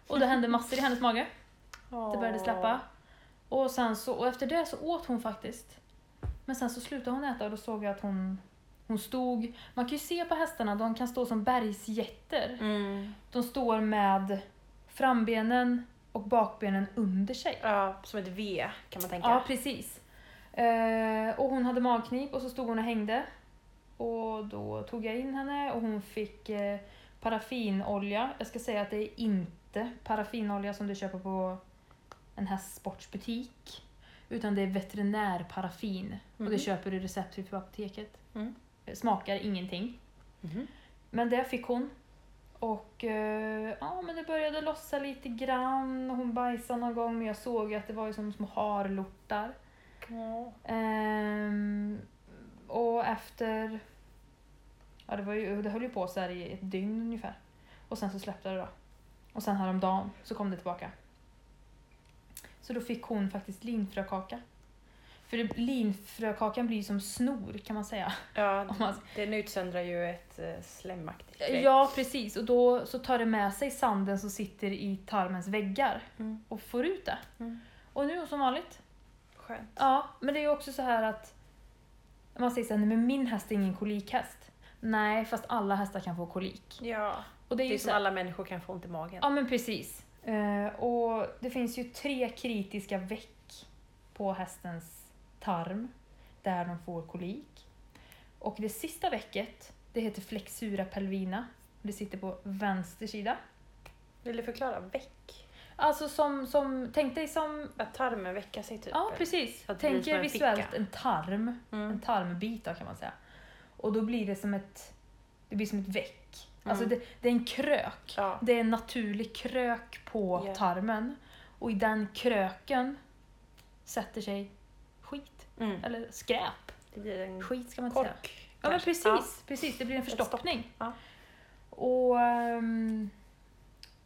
[SPEAKER 2] Och det hände massor i hennes mage. Det började släppa. Och, sen så, och efter det så åt hon faktiskt. Men sen så slutade hon äta och då såg jag att hon, hon stod... Man kan ju se på hästarna, de kan stå som bergsjätter.
[SPEAKER 1] Mm.
[SPEAKER 2] De står med frambenen och bakbenen under sig.
[SPEAKER 1] Ja, som ett V kan man tänka.
[SPEAKER 2] Ja, precis. Eh, och hon hade magknip och så stod hon och hängde. Och då tog jag in henne och hon fick eh, paraffinolja. Jag ska säga att det är inte paraffinolja som du köper på en hästsportsbutik. Utan det är veterinärparaffin. Och
[SPEAKER 1] Mhm.
[SPEAKER 2] det köper du receptfritt på apoteket. Eh,
[SPEAKER 1] Mm.
[SPEAKER 2] Smakar ingenting.
[SPEAKER 1] Mhm.
[SPEAKER 2] Men det fick hon. Och eh, ja, men det började lossa lite grann och hon bajsade någon gång men jag såg ju att det var ju som små harlortar. Mm. Ehm, och efter... Ja, det, var ju, det höll ju på så här i ett dygn ungefär. Och sen så släppte det då. Och sen häromdagen så kom det tillbaka. Så då fick hon faktiskt linfrökaka. För det- linfrökakan blir ju som snor kan man säga.
[SPEAKER 1] Ja,
[SPEAKER 2] Om man
[SPEAKER 1] den utsöndrar ju ett eh, slemaktigt grepp.
[SPEAKER 2] Ja, precis. Och då så tar det med sig sanden som sitter i tarmens väggar
[SPEAKER 1] Mm.
[SPEAKER 2] och får ut det.
[SPEAKER 1] Mm.
[SPEAKER 2] Och nu är hon som vanligt.
[SPEAKER 1] Skönt.
[SPEAKER 2] Ja, men det är ju också så här att man säger så här, nej men min häst är ingen kolikhäst. Nej, fast alla hästar kan få kolik.
[SPEAKER 1] Ja.
[SPEAKER 2] Och det är
[SPEAKER 1] Det
[SPEAKER 2] ju
[SPEAKER 1] är
[SPEAKER 2] så
[SPEAKER 1] som
[SPEAKER 2] här,
[SPEAKER 1] alla människor kan få ont i magen.
[SPEAKER 2] Ja men precis. Eh, och det finns ju tre kritiska veck på hästens tarm där de får kolik. Och det sista vecket, det heter flexura pelvina. Det sitter på vänster sida.
[SPEAKER 1] Vill du förklara väck?
[SPEAKER 2] Alltså som, som tänk dig som,
[SPEAKER 1] Att tarmen väcker sig typ?
[SPEAKER 2] ja precis,
[SPEAKER 1] Så att det blir
[SPEAKER 2] tänk
[SPEAKER 1] som
[SPEAKER 2] er
[SPEAKER 1] en
[SPEAKER 2] visuellt
[SPEAKER 1] ficka.
[SPEAKER 2] en tarm, en
[SPEAKER 1] Mm.
[SPEAKER 2] tarmbit då, kan man säga. Och då blir det som ett, det blir som ett veck. Alltså
[SPEAKER 1] Mm.
[SPEAKER 2] det, det är en krök.
[SPEAKER 1] Ja.
[SPEAKER 2] Det är en naturlig krök på
[SPEAKER 1] Ja.
[SPEAKER 2] tarmen och i den kröken sätter sig skit,
[SPEAKER 1] Mm.
[SPEAKER 2] eller skräp.
[SPEAKER 1] Det blir en
[SPEAKER 2] Skit ska man inte säga.
[SPEAKER 1] kork.
[SPEAKER 2] Ja men
[SPEAKER 1] kanske.
[SPEAKER 2] precis, precis, det blir en
[SPEAKER 1] Ett stopp.
[SPEAKER 2] förstoppning.
[SPEAKER 1] Ja.
[SPEAKER 2] Och ehm,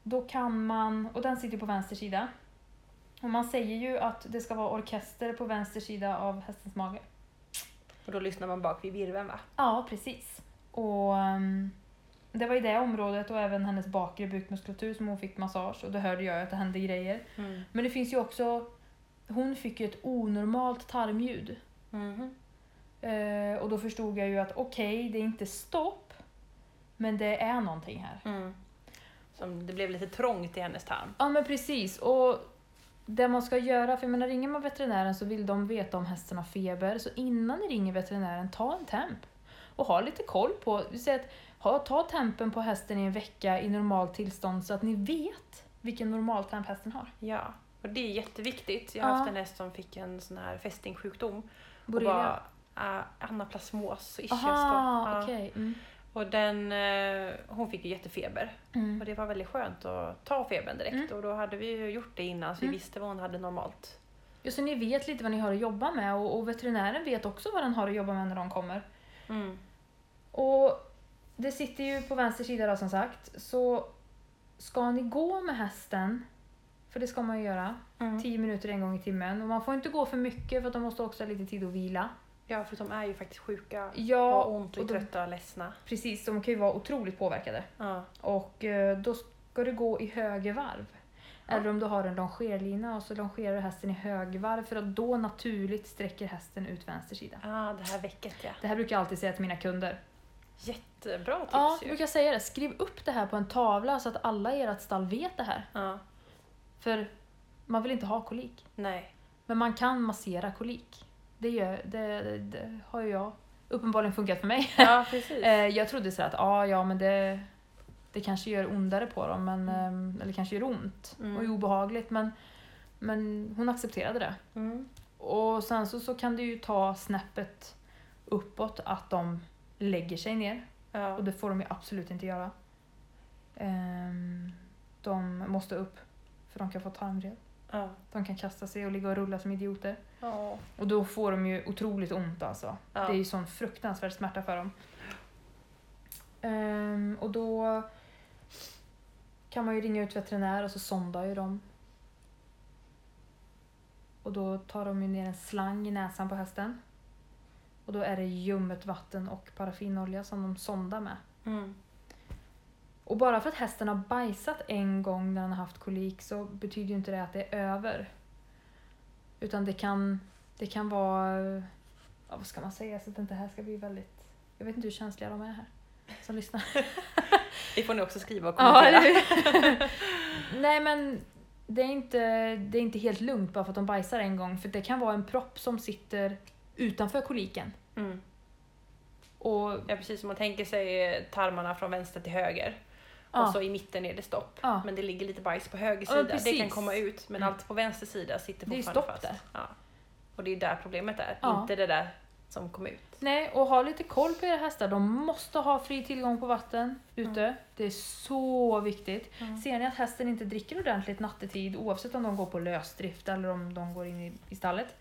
[SPEAKER 2] då kan man, och den sitter ju på vänster sida. Och man säger ju att det ska vara orkester på vänster sida av hästens mage.
[SPEAKER 1] Och då lyssnar man bak vid virveln va?
[SPEAKER 2] Ja, precis. Och ehm, det var i det området och även hennes bakre bukmuskulatur som hon fick massage och då hörde jag ju att det hände grejer.
[SPEAKER 1] Mm.
[SPEAKER 2] Men det finns ju också, hon fick ju ett onormalt tarmljud.
[SPEAKER 1] Mhm.
[SPEAKER 2] Eh, och då förstod jag ju att okej, det är inte stopp, men det är någonting här.
[SPEAKER 1] Mm. Som det blev lite trångt i hennes tarm.
[SPEAKER 2] Ja men precis, och det man ska göra, för jag menar ringer man veterinären så vill de veta om hästen har feber, så innan ni ringer veterinären, ta en temp. Och ha lite koll på, du säger att ha, ta tempen på hästen i en vecka i normalt tillstånd så att ni vet vilken normaltemp hästen har.
[SPEAKER 1] Ja, och det är jätteviktigt. Jag har
[SPEAKER 2] Ja.
[SPEAKER 1] haft en häst som fick en sån här fästingsjukdom.
[SPEAKER 2] Borrelia.
[SPEAKER 1] Och bara, uh, anaplasmos ischias då.
[SPEAKER 2] Aha,
[SPEAKER 1] Ja.
[SPEAKER 2] okej. Mm.
[SPEAKER 1] Och den, eh, hon fick ju jättefeber.
[SPEAKER 2] Mm.
[SPEAKER 1] Och det var väldigt skönt att ta febern direkt.
[SPEAKER 2] Mm.
[SPEAKER 1] Och då hade vi ju gjort det innan så vi
[SPEAKER 2] Mm.
[SPEAKER 1] visste vad hon hade normalt.
[SPEAKER 2] Ja, så ni vet lite vad ni har att jobba med och, och veterinären vet också vad den har att jobba med när de kommer.
[SPEAKER 1] Mm.
[SPEAKER 2] Och det sitter ju på vänster sida då som sagt. Så ska ni gå med hästen, för det ska man ju göra,
[SPEAKER 1] Mm.
[SPEAKER 2] 10 minuter en gång i timmen. Och man får inte gå för mycket för att de måste också ha lite tid att vila.
[SPEAKER 1] Ja, för de är ju faktiskt sjuka.
[SPEAKER 2] Ja,
[SPEAKER 1] Har ont och är
[SPEAKER 2] de-
[SPEAKER 1] trötta och ledsna.
[SPEAKER 2] precis. De kan ju vara otroligt påverkade.
[SPEAKER 1] Ja.
[SPEAKER 2] Och eh, då ska du gå i högervarv. Eller om du har en longerlina och så longerar du hästen i högervarv för att då naturligt sträcker hästen ut vänster sida.
[SPEAKER 1] Ah, det här väcket ja.
[SPEAKER 2] Det här brukar jag alltid säga till mina kunder.
[SPEAKER 1] Jättebra tips
[SPEAKER 2] Ja, jag
[SPEAKER 1] ju.
[SPEAKER 2] brukar säga det. Skriv upp det här på en tavla så att alla i ert stall vet det här.
[SPEAKER 1] Ja,
[SPEAKER 2] För man vill inte ha kolik.
[SPEAKER 1] nej.
[SPEAKER 2] Men man kan massera kolik. Det, gör, det, det, det har ju jag uppenbarligen funkat för mig.
[SPEAKER 1] Ja, precis.
[SPEAKER 2] Eh, jag trodde så här att ah, ja, men det, det kanske gör ondare på dem, men, eh, eller kanske gör ont
[SPEAKER 1] Mm.
[SPEAKER 2] och är obehagligt. Men, men hon accepterade det.
[SPEAKER 1] Mm.
[SPEAKER 2] Och sen så, så kan det ju ta snäppet uppåt att de lägger sig ner.
[SPEAKER 1] Ja.
[SPEAKER 2] Och det får de ju absolut inte göra. Ehm, de måste upp, för de kan få tarmvred.
[SPEAKER 1] Ja.
[SPEAKER 2] De kan kasta sig och ligga och rulla som idioter.
[SPEAKER 1] Ja.
[SPEAKER 2] Och då får de ju otroligt ont alltså.
[SPEAKER 1] Ja.
[SPEAKER 2] Det är ju sån fruktansvärd smärta för dem. Ehm, och då kan man ju ringa ut veterinär och så sondar ju de. Och då tar de ju ner en slang i näsan på hästen. Och då är det ljummet vatten och paraffinolja som de sondar med.
[SPEAKER 1] Mm.
[SPEAKER 2] Och bara för att hästen har bajsat en gång när den har haft kolik så betyder ju inte det att det är över. Utan det kan, det kan vara... Ja, vad ska man säga så att det inte här ska bli väldigt... Jag vet inte hur känsliga de är här som lyssnar.
[SPEAKER 1] Det får ni också skriva och
[SPEAKER 2] Ja,
[SPEAKER 1] kommentera.
[SPEAKER 2] eller hur? Nej men det är, inte, det är inte helt lugnt bara för att de bajsar en gång. För det kan vara en propp som sitter utanför koliken.
[SPEAKER 1] mm.
[SPEAKER 2] Och,
[SPEAKER 1] Ja precis, om man tänker sig eh, tarmarna från vänster till höger och
[SPEAKER 2] ja,
[SPEAKER 1] så i mitten är det stopp.
[SPEAKER 2] ja.
[SPEAKER 1] Men det ligger lite bajs på höger
[SPEAKER 2] Ja,
[SPEAKER 1] sida,
[SPEAKER 2] men
[SPEAKER 1] det kan
[SPEAKER 2] precis.
[SPEAKER 1] komma ut men
[SPEAKER 2] Mm.
[SPEAKER 1] allt på vänster sida sitter
[SPEAKER 2] Det är ju
[SPEAKER 1] fortfarande
[SPEAKER 2] stopp
[SPEAKER 1] fast.
[SPEAKER 2] där.
[SPEAKER 1] Ja. Och det är där problemet är,
[SPEAKER 2] Ja.
[SPEAKER 1] inte det där som kom ut.
[SPEAKER 2] Nej, och ha lite koll på era hästar. De måste ha fri tillgång på vatten ute. Det är så viktigt.
[SPEAKER 1] Mm.
[SPEAKER 2] Ser ni att hästen inte dricker ordentligt nattetid, oavsett om de går på lösdrift eller om de går in i, i stallet,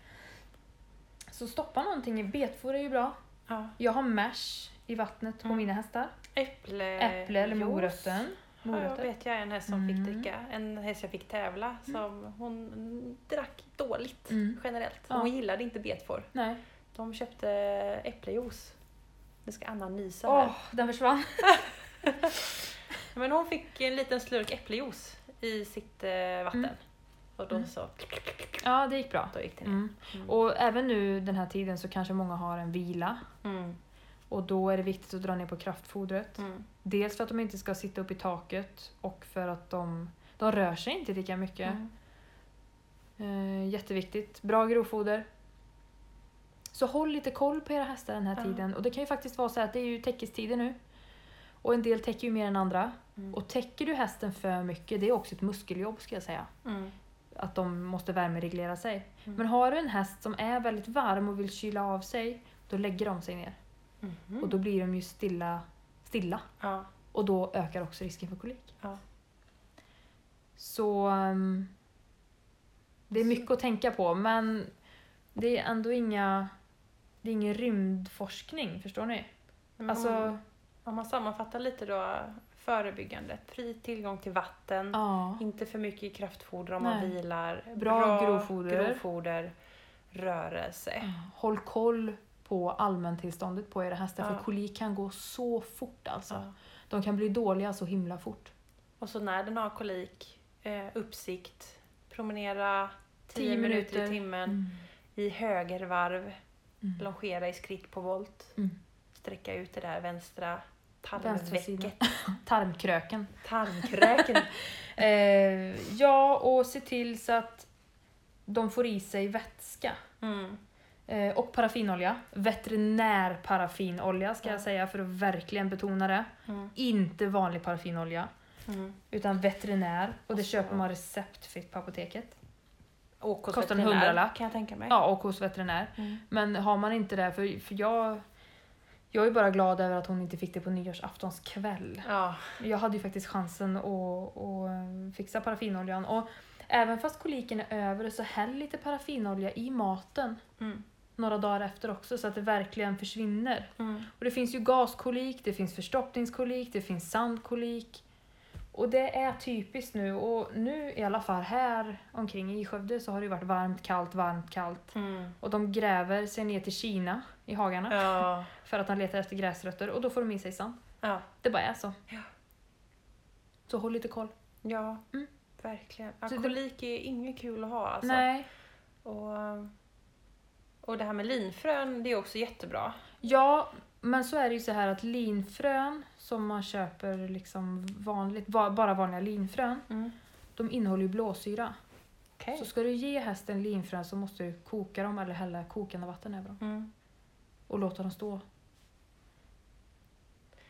[SPEAKER 2] så stoppa någonting. i- Betfår är ju bra.
[SPEAKER 1] Ja.
[SPEAKER 2] Jag har mash i vattnet på
[SPEAKER 1] Mm.
[SPEAKER 2] mina hästar.
[SPEAKER 1] Äpple,
[SPEAKER 2] Äpple eller
[SPEAKER 1] juice.
[SPEAKER 2] morötten.
[SPEAKER 1] Ja,
[SPEAKER 2] morötter.
[SPEAKER 1] vet jag en häst som
[SPEAKER 2] Mm.
[SPEAKER 1] fick dricka, en häst jag fick tävla som hon drack dåligt
[SPEAKER 2] Mm.
[SPEAKER 1] generellt.
[SPEAKER 2] Ja.
[SPEAKER 1] Hon gillade inte betfor.
[SPEAKER 2] Nej.
[SPEAKER 1] De köpte äpplejuice. Nu ska Anna nysa
[SPEAKER 2] Åh,
[SPEAKER 1] här.
[SPEAKER 2] den försvann. [LAUGHS]
[SPEAKER 1] Men hon fick en liten slurk äpplejuice i sitt eh, vatten.
[SPEAKER 2] Mm.
[SPEAKER 1] Och då
[SPEAKER 2] Mm.
[SPEAKER 1] så,
[SPEAKER 2] Ja, det gick bra.
[SPEAKER 1] då gick det ner.
[SPEAKER 2] Mm.
[SPEAKER 1] Mm.
[SPEAKER 2] Och även nu den här tiden så kanske många har en vila.
[SPEAKER 1] Mm.
[SPEAKER 2] Och då är det viktigt att dra ner på kraftfodret.
[SPEAKER 1] Mm.
[SPEAKER 2] Dels för att de inte ska sitta upp i taket och för att de, de rör sig inte lika mycket.
[SPEAKER 1] Mm.
[SPEAKER 2] Eh, jätteviktigt. Bra grovfoder. Så håll lite koll på era hästar den här
[SPEAKER 1] Ja.
[SPEAKER 2] tiden. Och det kan ju faktiskt vara så här att det är ju täckestider nu. Och en del täcker ju mer än andra.
[SPEAKER 1] Mm.
[SPEAKER 2] Och täcker du hästen för mycket, det är också ett muskeljobb ska jag säga.
[SPEAKER 1] Mm.
[SPEAKER 2] Att de måste värmereglera sig.
[SPEAKER 1] Mm.
[SPEAKER 2] Men har du en häst som är väldigt varm och vill kyla av sig, då lägger de sig ner.
[SPEAKER 1] Mhm.
[SPEAKER 2] Och då blir de ju stilla, stilla.
[SPEAKER 1] Ja.
[SPEAKER 2] Och då ökar också risken för kolik.
[SPEAKER 1] Ja.
[SPEAKER 2] Så ehm, det är mycket att tänka på men det är ändå inga det är ingen rymdforskning, förstår ni?
[SPEAKER 1] Men om,
[SPEAKER 2] Alltså,
[SPEAKER 1] om man sammanfattar lite då, förebyggande, fri tillgång till vatten,
[SPEAKER 2] ja.
[SPEAKER 1] inte för mycket kraftfoder om man
[SPEAKER 2] Nej.
[SPEAKER 1] vilar,
[SPEAKER 2] Bra grovfoder.
[SPEAKER 1] grovfoder, rörelse.
[SPEAKER 2] Håll koll på allmäntillståndet på era hästar
[SPEAKER 1] Ja.
[SPEAKER 2] för kolik kan gå så fort alltså.
[SPEAKER 1] Ja.
[SPEAKER 2] De kan bli dåliga så himla fort.
[SPEAKER 1] Och så när den har kolik, eh, uppsikt, promenera 10
[SPEAKER 2] Tio
[SPEAKER 1] minuter. i
[SPEAKER 2] minuter.
[SPEAKER 1] timmen
[SPEAKER 2] Mm.
[SPEAKER 1] i högervarv,
[SPEAKER 2] Mm.
[SPEAKER 1] longera i skritt på volt,
[SPEAKER 2] Mm.
[SPEAKER 1] sträcka ut det där vänstra
[SPEAKER 2] Vänstra sidan.
[SPEAKER 1] tarmvecket,
[SPEAKER 2] Tarmkröken.
[SPEAKER 1] tarmkröken.
[SPEAKER 2] [LAUGHS] Eh, ja, och se till så att de får i sig vätska.
[SPEAKER 1] Mm.
[SPEAKER 2] Eh, och paraffinolja. Veterinärparaffinolja ska
[SPEAKER 1] Ja.
[SPEAKER 2] jag säga för att verkligen betona det.
[SPEAKER 1] Mm.
[SPEAKER 2] Inte vanlig paraffinolja,
[SPEAKER 1] Mm.
[SPEAKER 2] utan veterinär. Och det
[SPEAKER 1] Och så-
[SPEAKER 2] köper man receptfritt på apoteket.
[SPEAKER 1] Och hos
[SPEAKER 2] Kostar en
[SPEAKER 1] veterinär,
[SPEAKER 2] hundralapp.
[SPEAKER 1] kan jag tänka mig.
[SPEAKER 2] Ja, och hos veterinär.
[SPEAKER 1] Mm.
[SPEAKER 2] Men har man inte det, för, för jag... Jag är bara glad över att hon inte fick det på nyårsaftons kväll.
[SPEAKER 1] Ja.
[SPEAKER 2] Jag hade ju faktiskt chansen att, att fixa paraffinoljan. Och även fast koliken är över så häll lite paraffinolja i maten
[SPEAKER 1] Mm.
[SPEAKER 2] några dagar efter också så att det verkligen försvinner.
[SPEAKER 1] Mm.
[SPEAKER 2] Och det finns ju gaskolik, det finns förstoppningskolik, det finns sandkolik. Och det är typiskt nu och nu i alla fall här omkring i Skövde så har det ju varit varmt, kallt, varmt, kallt.
[SPEAKER 1] Mm.
[SPEAKER 2] Och de gräver sig ner till Kina i hagarna
[SPEAKER 1] Ja.
[SPEAKER 2] för att de letar efter gräsrötter och då får de i sig sand.
[SPEAKER 1] ja.
[SPEAKER 2] Det bara är så.
[SPEAKER 1] Ja.
[SPEAKER 2] Så håll lite koll.
[SPEAKER 1] Ja,
[SPEAKER 2] Mm.
[SPEAKER 1] verkligen. Ja,
[SPEAKER 2] Så det-
[SPEAKER 1] kolik är inget kul att ha alltså.
[SPEAKER 2] Nej.
[SPEAKER 1] Och, och det här med linfrön, det är också jättebra.
[SPEAKER 2] Ja, men så är det ju så här att linfrön som man köper liksom vanligt, va- bara vanliga linfrön,
[SPEAKER 1] Mm.
[SPEAKER 2] de innehåller ju blåsyra.
[SPEAKER 1] Okej.
[SPEAKER 2] Så ska du ge hästen linfrön så måste du koka dem eller hälla kokande vatten över dem
[SPEAKER 1] Mm.
[SPEAKER 2] och låta dem stå.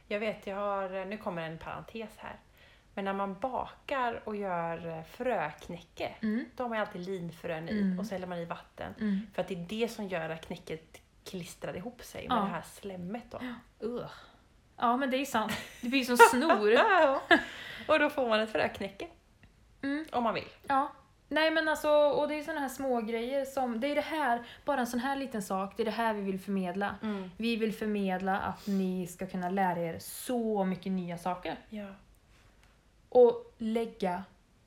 [SPEAKER 1] Jag vet, jag har, nu kommer en parentes här. Men när man bakar och gör eh, fröknäcke, då har man ju alltid linfrön i
[SPEAKER 2] Mm.
[SPEAKER 1] och så häller man i vatten.
[SPEAKER 2] Mm.
[SPEAKER 1] För att det är det som gör att knäcket klistrar ihop sig med
[SPEAKER 2] Ja.
[SPEAKER 1] det här slemmet då.
[SPEAKER 2] Ugh. Ja, men det är ju sant. Det blir som
[SPEAKER 1] [LAUGHS]
[SPEAKER 2] snor.
[SPEAKER 1] Ja. och då får man ett fröknäcke,
[SPEAKER 2] Mm.
[SPEAKER 1] om man vill.
[SPEAKER 2] Ja. Nej men alltså, och det är ju sådana här små grejer som, det är det här, bara en sån här liten sak, det är det här vi vill förmedla. Vi vill förmedla att ni ska kunna lära er så mycket nya saker.
[SPEAKER 1] Ja.
[SPEAKER 2] Och lägga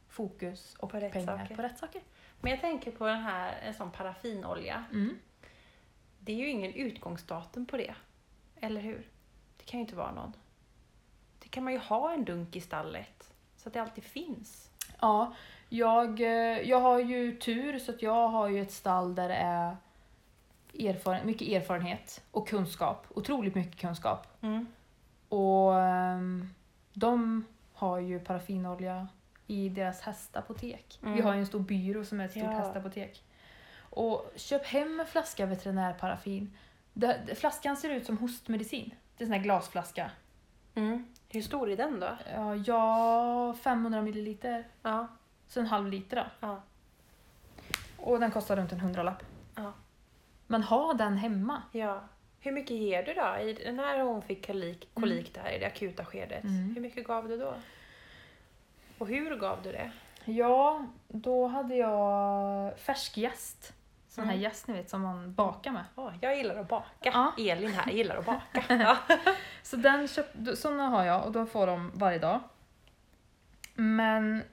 [SPEAKER 2] fokus och
[SPEAKER 1] På rätt
[SPEAKER 2] pengar
[SPEAKER 1] saker.
[SPEAKER 2] på rätt saker.
[SPEAKER 1] Men jag tänker på den här, en sån paraffinolja.
[SPEAKER 2] Mm.
[SPEAKER 1] Det är ju ingen utgångsdatum på det. Eller hur? Det kan ju inte vara någon. Det kan man ju ha en dunk i stallet. Så att det alltid finns.
[SPEAKER 2] Ja, jag, eh, jag har ju tur så att jag har ju ett stall där det är erfaren, mycket erfarenhet och kunskap. Otroligt mycket kunskap.
[SPEAKER 1] Mm.
[SPEAKER 2] Och ehm, de har ju paraffinolja i deras hästapotek.
[SPEAKER 1] Mm.
[SPEAKER 2] Vi har ju en stor byrå som är ett stort
[SPEAKER 1] Ja.
[SPEAKER 2] hästapotek. Och köp hem en flaska veterinärparaffin. Det- det- Flaskan ser ut som hostmedicin. Det är en sån här glasflaska.
[SPEAKER 1] Hur stor är den då?
[SPEAKER 2] Ja, Ja, 500 milliliter.
[SPEAKER 1] Ja.
[SPEAKER 2] Så en halv liter då.
[SPEAKER 1] ja.
[SPEAKER 2] Och den kostar runt en hundralapp.
[SPEAKER 1] Ja.
[SPEAKER 2] Men ha den hemma.
[SPEAKER 1] ja. Hur mycket ger du då? I, när hon fick kolik, kolik där i det akuta skedet,
[SPEAKER 2] Mm.
[SPEAKER 1] hur mycket gav du då? Och hur gav du det?
[SPEAKER 2] Ja, då hade jag färsk jäst. Sån här
[SPEAKER 1] Mm.
[SPEAKER 2] jäst ni vet som man bakar med.
[SPEAKER 1] Ja, jag gillar att baka.
[SPEAKER 2] Ja.
[SPEAKER 1] Elin här gillar att baka. Ja.
[SPEAKER 2] Så den köp, då- såna har jag och de får de varje dag. Men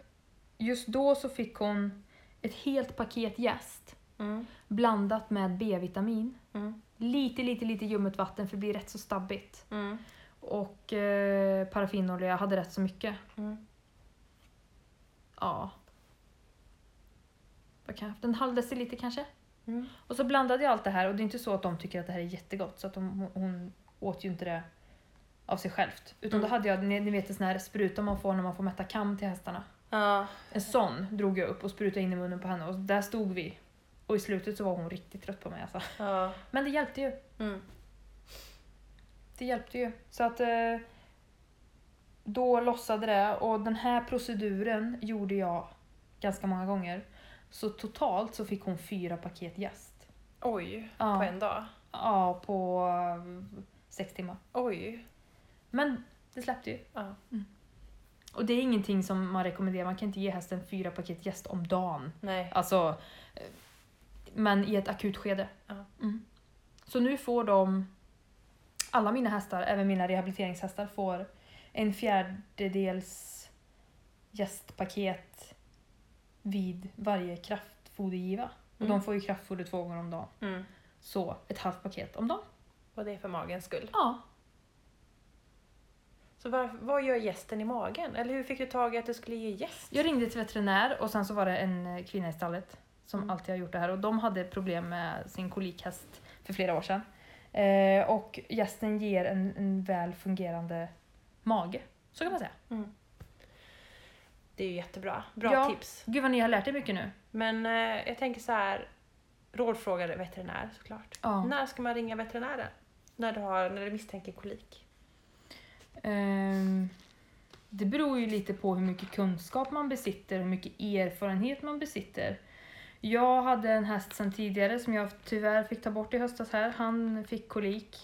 [SPEAKER 2] just då så fick hon ett helt paket jäst
[SPEAKER 1] [LAUGHS] Mm.
[SPEAKER 2] blandat med B-vitamin.
[SPEAKER 1] Mm.
[SPEAKER 2] Lite, lite, lite ljummet vatten för det blir rätt så stabbigt.
[SPEAKER 1] Mm.
[SPEAKER 2] Och eh, paraffinolja hade rätt så mycket.
[SPEAKER 1] Mm.
[SPEAKER 2] Ja. Vad kan jag ha haft? En halv deciliter kanske?
[SPEAKER 1] Mm.
[SPEAKER 2] Och så blandade jag allt det här och det är inte så att de tycker att det här är jättegott så att de, hon åt ju inte det av sig självt. Utan
[SPEAKER 1] Mm.
[SPEAKER 2] då hade jag, ni, ni vet en sån här spruta man får när man får mätta kam till hästarna.
[SPEAKER 1] Ja.
[SPEAKER 2] En sån drog jag upp och sprutade in i munnen på henne och där stod vi. Och i slutet så var hon riktigt trött på mig alltså.
[SPEAKER 1] Ja.
[SPEAKER 2] Men det hjälpte ju.
[SPEAKER 1] Mm.
[SPEAKER 2] Det hjälpte ju. Så att eh, då lossade det och den här proceduren gjorde jag ganska många gånger. Så totalt så fick hon fyra paket jäst.
[SPEAKER 1] Oj,
[SPEAKER 2] Ja.
[SPEAKER 1] på en dag.
[SPEAKER 2] Ja, på eh, sex timmar.
[SPEAKER 1] Oj.
[SPEAKER 2] Men det släppte ju. Mm.
[SPEAKER 1] Ja.
[SPEAKER 2] Och det är ingenting som man rekommenderar. Man kan inte ge hästen fyra paket jäst om dagen.
[SPEAKER 1] Nej.
[SPEAKER 2] Alltså, eh, men i ett akut skede.
[SPEAKER 1] Ja.
[SPEAKER 2] Mm. Så nu får de, alla mina hästar, även mina rehabiliteringshästar, får en fjärdedels gästpaket vid varje kraftfodergiva. Och
[SPEAKER 1] Mm.
[SPEAKER 2] de får ju kraftfoder två gånger om dagen.
[SPEAKER 1] Mm.
[SPEAKER 2] Så ett halvt paket om dagen.
[SPEAKER 1] Och det är för magens skull.
[SPEAKER 2] Ja.
[SPEAKER 1] Så var, vad gör gästen i magen? Eller hur fick du tag i att du skulle ge gäst?
[SPEAKER 2] Jag ringde till veterinär och sen så var det en eh, kvinna i stallet som
[SPEAKER 1] Mm.
[SPEAKER 2] alltid har gjort det här och de hade problem med sin kolikhäst för flera år sedan. Eh, och gästen ger en, en väl fungerande mage, så kan man säga.
[SPEAKER 1] Det är ju jättebra. Bra
[SPEAKER 2] Ja.
[SPEAKER 1] tips.
[SPEAKER 2] Gud vad ni har lärt er mycket nu.
[SPEAKER 1] Men eh, jag tänker så här. Rådfråga veterinär såklart.
[SPEAKER 2] Ja.
[SPEAKER 1] När ska man ringa veterinären? När du, har, när du misstänker kolik?
[SPEAKER 2] Ehm, det beror ju lite på hur mycket kunskap man besitter, hur mycket erfarenhet man besitter. Jag hade en häst sedan tidigare som jag tyvärr fick ta bort i höstas här. Han fick kolik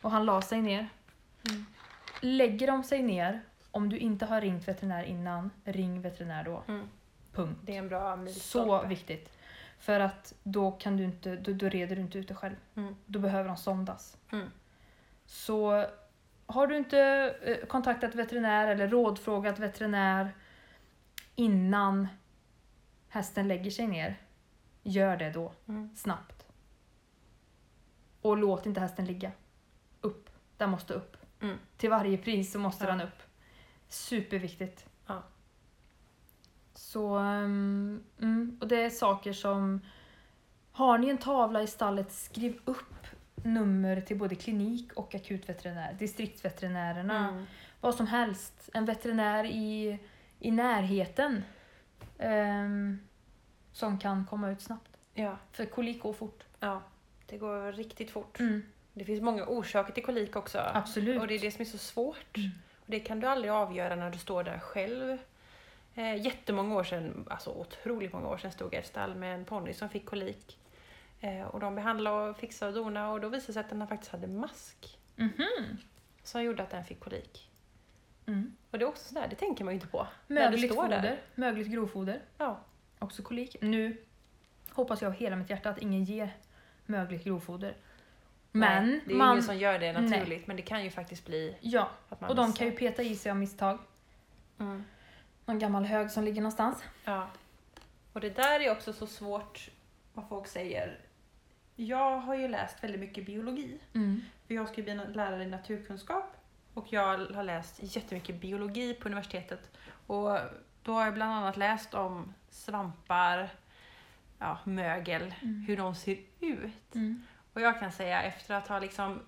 [SPEAKER 2] och han la sig ner.
[SPEAKER 1] Mm.
[SPEAKER 2] Lägger de sig ner, om du inte har ringt veterinär innan, ring veterinär då.
[SPEAKER 1] Mm.
[SPEAKER 2] Punkt.
[SPEAKER 1] Det är en bra milstolpe.
[SPEAKER 2] Så viktigt. För att då, kan du inte, då, då reder du inte ut det själv.
[SPEAKER 1] Mm.
[SPEAKER 2] Då behöver de sondas.
[SPEAKER 1] Mm.
[SPEAKER 2] Så har du inte eh, kontaktat veterinär eller rådfrågat veterinär innan hästen lägger sig ner, gör det då.
[SPEAKER 1] Mm.
[SPEAKER 2] Snabbt. Och låt inte hästen ligga. Upp. Den måste upp.
[SPEAKER 1] Mm.
[SPEAKER 2] Till varje pris så måste
[SPEAKER 1] Ja.
[SPEAKER 2] den upp. Superviktigt.
[SPEAKER 1] Ja.
[SPEAKER 2] Så, ehm, mm, och det är saker som... Har ni en tavla i stallet, skriv upp nummer till både klinik och akutveterinär. Distriktsveterinärerna.
[SPEAKER 1] Mm.
[SPEAKER 2] Vad som helst. En veterinär i, i närheten. ehm, som kan komma ut snabbt.
[SPEAKER 1] Ja,
[SPEAKER 2] För kolik går fort.
[SPEAKER 1] ja, det går riktigt fort.
[SPEAKER 2] Mm,
[SPEAKER 1] Det finns många orsaker till kolik också.
[SPEAKER 2] absolut.
[SPEAKER 1] Och det är det som är så svårt.
[SPEAKER 2] Mm.
[SPEAKER 1] Och det kan du aldrig avgöra när du står där själv. Eh, jättemånga år sedan, alltså otroligt många år sedan, stod jag i ett stall med en ponny som fick kolik. Eh, och de behandlade och fixade och donade och då visade det sig att den faktiskt hade mask
[SPEAKER 2] Mhm.
[SPEAKER 1] som gjorde att den fick kolik.
[SPEAKER 2] Mm.
[SPEAKER 1] Och det är också sådär, det tänker man ju inte på. När du
[SPEAKER 2] Mögligt
[SPEAKER 1] står där.
[SPEAKER 2] foder, mögligt grovfoder,
[SPEAKER 1] Ja.
[SPEAKER 2] också kolik. Nu hoppas jag av hela mitt hjärta att ingen ger mögligt grovfoder. Men
[SPEAKER 1] Nej, det är
[SPEAKER 2] man...
[SPEAKER 1] ingen som gör det naturligt, men det kan ju faktiskt bli
[SPEAKER 2] Ja,
[SPEAKER 1] att man
[SPEAKER 2] och de
[SPEAKER 1] missar.
[SPEAKER 2] kan ju peta i sig av misstag.
[SPEAKER 1] Mm.
[SPEAKER 2] Någon gammal hög som ligger någonstans.
[SPEAKER 1] Ja. Och det där är också så svårt vad folk säger. Jag har ju läst väldigt mycket biologi. För jag ska ju bli na- lärare i naturkunskap och jag har läst jättemycket biologi på universitetet. Och då har jag bland annat läst om svampar, ja, mögel, hur de ser ut.
[SPEAKER 2] Mm.
[SPEAKER 1] Och jag kan säga efter att ha liksom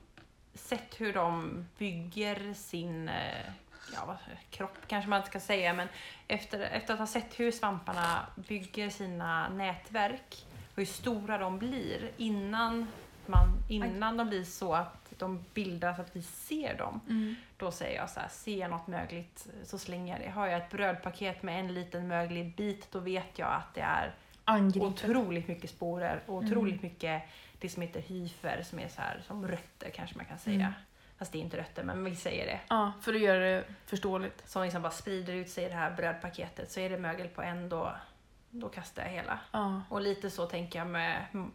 [SPEAKER 1] sett hur de bygger sin eh, ja, vad- kropp, kanske man inte ska säga, men efter, efter att ha sett hur svamparna bygger sina nätverk och hur stora de blir innan, man, innan de blir så att de bildas, att vi ser dem.
[SPEAKER 2] Mm.
[SPEAKER 1] Då säger jag så här, ser jag något mögligt så slänger jag det. Har jag ett brödpaket med en liten möglig bit, då vet jag att det är
[SPEAKER 2] Angripet.
[SPEAKER 1] otroligt mycket sporer och otroligt mycket det som heter hyfer som är så här som rötter kanske man kan säga.
[SPEAKER 2] Mm.
[SPEAKER 1] Fast det är inte rötter men vi säger det.
[SPEAKER 2] Ja, för att göra det förståeligt.
[SPEAKER 1] Som liksom bara sprider ut sig i det här brödpaketet. Så är det mögel på en då, då kastar jag hela.
[SPEAKER 2] Ja.
[SPEAKER 1] Och lite så tänker jag med mm,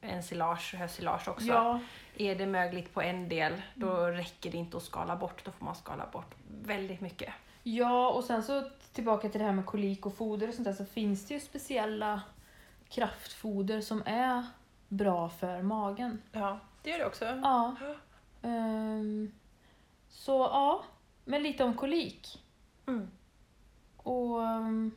[SPEAKER 1] ensilage och hösilage också.
[SPEAKER 2] Ja.
[SPEAKER 1] Är det mögligt på en del då räcker det inte att skala bort. Då får man skala bort väldigt mycket.
[SPEAKER 2] ja, och sen så tillbaka till det här med kolik och foder och sånt där så finns det ju speciella kraftfoder som är bra för magen.
[SPEAKER 1] Ja, det gör det också.
[SPEAKER 2] Ja. Ehm, så ja, men lite om kolik.
[SPEAKER 1] Mm.
[SPEAKER 2] Och ehm,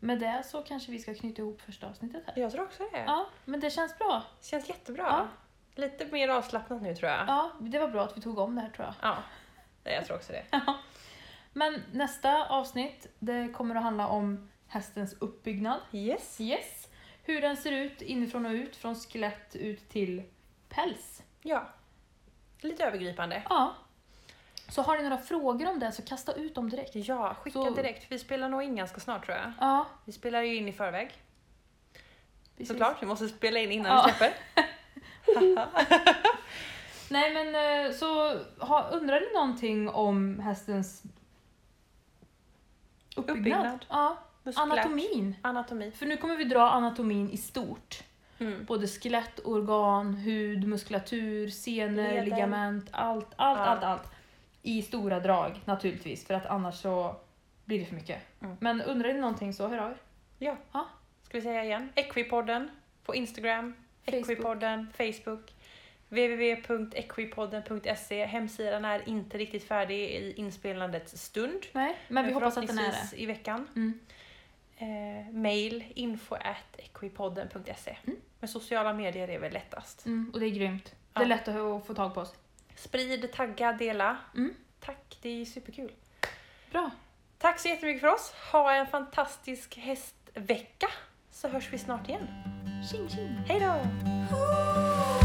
[SPEAKER 2] med det så kanske vi ska knyta ihop första avsnittet här.
[SPEAKER 1] Jag tror också det.
[SPEAKER 2] Ja, men det känns bra.
[SPEAKER 1] Känns jättebra.
[SPEAKER 2] Ja.
[SPEAKER 1] Lite mer avslappnat nu tror jag. Ja.
[SPEAKER 2] Ja, det var bra att vi tog om det här tror jag.
[SPEAKER 1] Nej, jag tror också det.
[SPEAKER 2] Men nästa avsnitt, det kommer att handla om hästens uppbyggnad.
[SPEAKER 1] Yes.
[SPEAKER 2] Yes. Hur den ser ut inifrån och ut, från skelett ut till päls.
[SPEAKER 1] Ja. Lite övergripande.
[SPEAKER 2] Ja. Så har ni några frågor om det så kasta ut dem direkt.
[SPEAKER 1] Ja, skicka
[SPEAKER 2] Så-
[SPEAKER 1] direkt. Vi spelar nog in ganska snart tror jag.
[SPEAKER 2] Ja,
[SPEAKER 1] Vi spelar ju in i förväg
[SPEAKER 2] precis.
[SPEAKER 1] såklart. Vi måste spela in innan
[SPEAKER 2] Ja.
[SPEAKER 1] vi släpper.
[SPEAKER 2] Nej men eh, så ha, undrar ni någonting om hästens uppbyggnad?
[SPEAKER 1] [LAUGHS] Uppbyggnad.
[SPEAKER 2] Ja,
[SPEAKER 1] Muskulärt.
[SPEAKER 2] anatomin.
[SPEAKER 1] Anatomi.
[SPEAKER 2] För nu kommer vi dra anatomin i stort.
[SPEAKER 1] Mm.
[SPEAKER 2] Både skelett, organ, hud, muskulatur, senor,
[SPEAKER 1] Leder.
[SPEAKER 2] ligament, allt, allt,
[SPEAKER 1] Ja.
[SPEAKER 2] allt, allt. I stora drag naturligtvis, för att annars så blir det för mycket.
[SPEAKER 1] Mm.
[SPEAKER 2] Men undrar ni någonting så hör av er.
[SPEAKER 1] Ska vi säga igen? Equipodden på Instagram,
[SPEAKER 2] Facebook.
[SPEAKER 1] Equipodden, Facebook, www.equipodden.se. Hemsidan är inte riktigt färdig i inspelandets stund.
[SPEAKER 2] Nej, men vi hoppas att den är det.
[SPEAKER 1] Eh, förhoppningsvis i veckan.
[SPEAKER 2] Mm.
[SPEAKER 1] Eh, mail info at equipodden.se.
[SPEAKER 2] Mm.
[SPEAKER 1] Men sociala medier är väl lättast.
[SPEAKER 2] Mm, och det är grymt.
[SPEAKER 1] Ja.
[SPEAKER 2] Det är lätt att få tag på oss.
[SPEAKER 1] Sprid, tagga, dela.
[SPEAKER 2] Mm.
[SPEAKER 1] Tack, det är superkul.
[SPEAKER 2] Bra.
[SPEAKER 1] Tack så jättemycket för oss. Ha en fantastisk hästvecka så hörs vi snart igen.
[SPEAKER 2] Tjing tjing!
[SPEAKER 1] Hej då!
[SPEAKER 3] Ooh.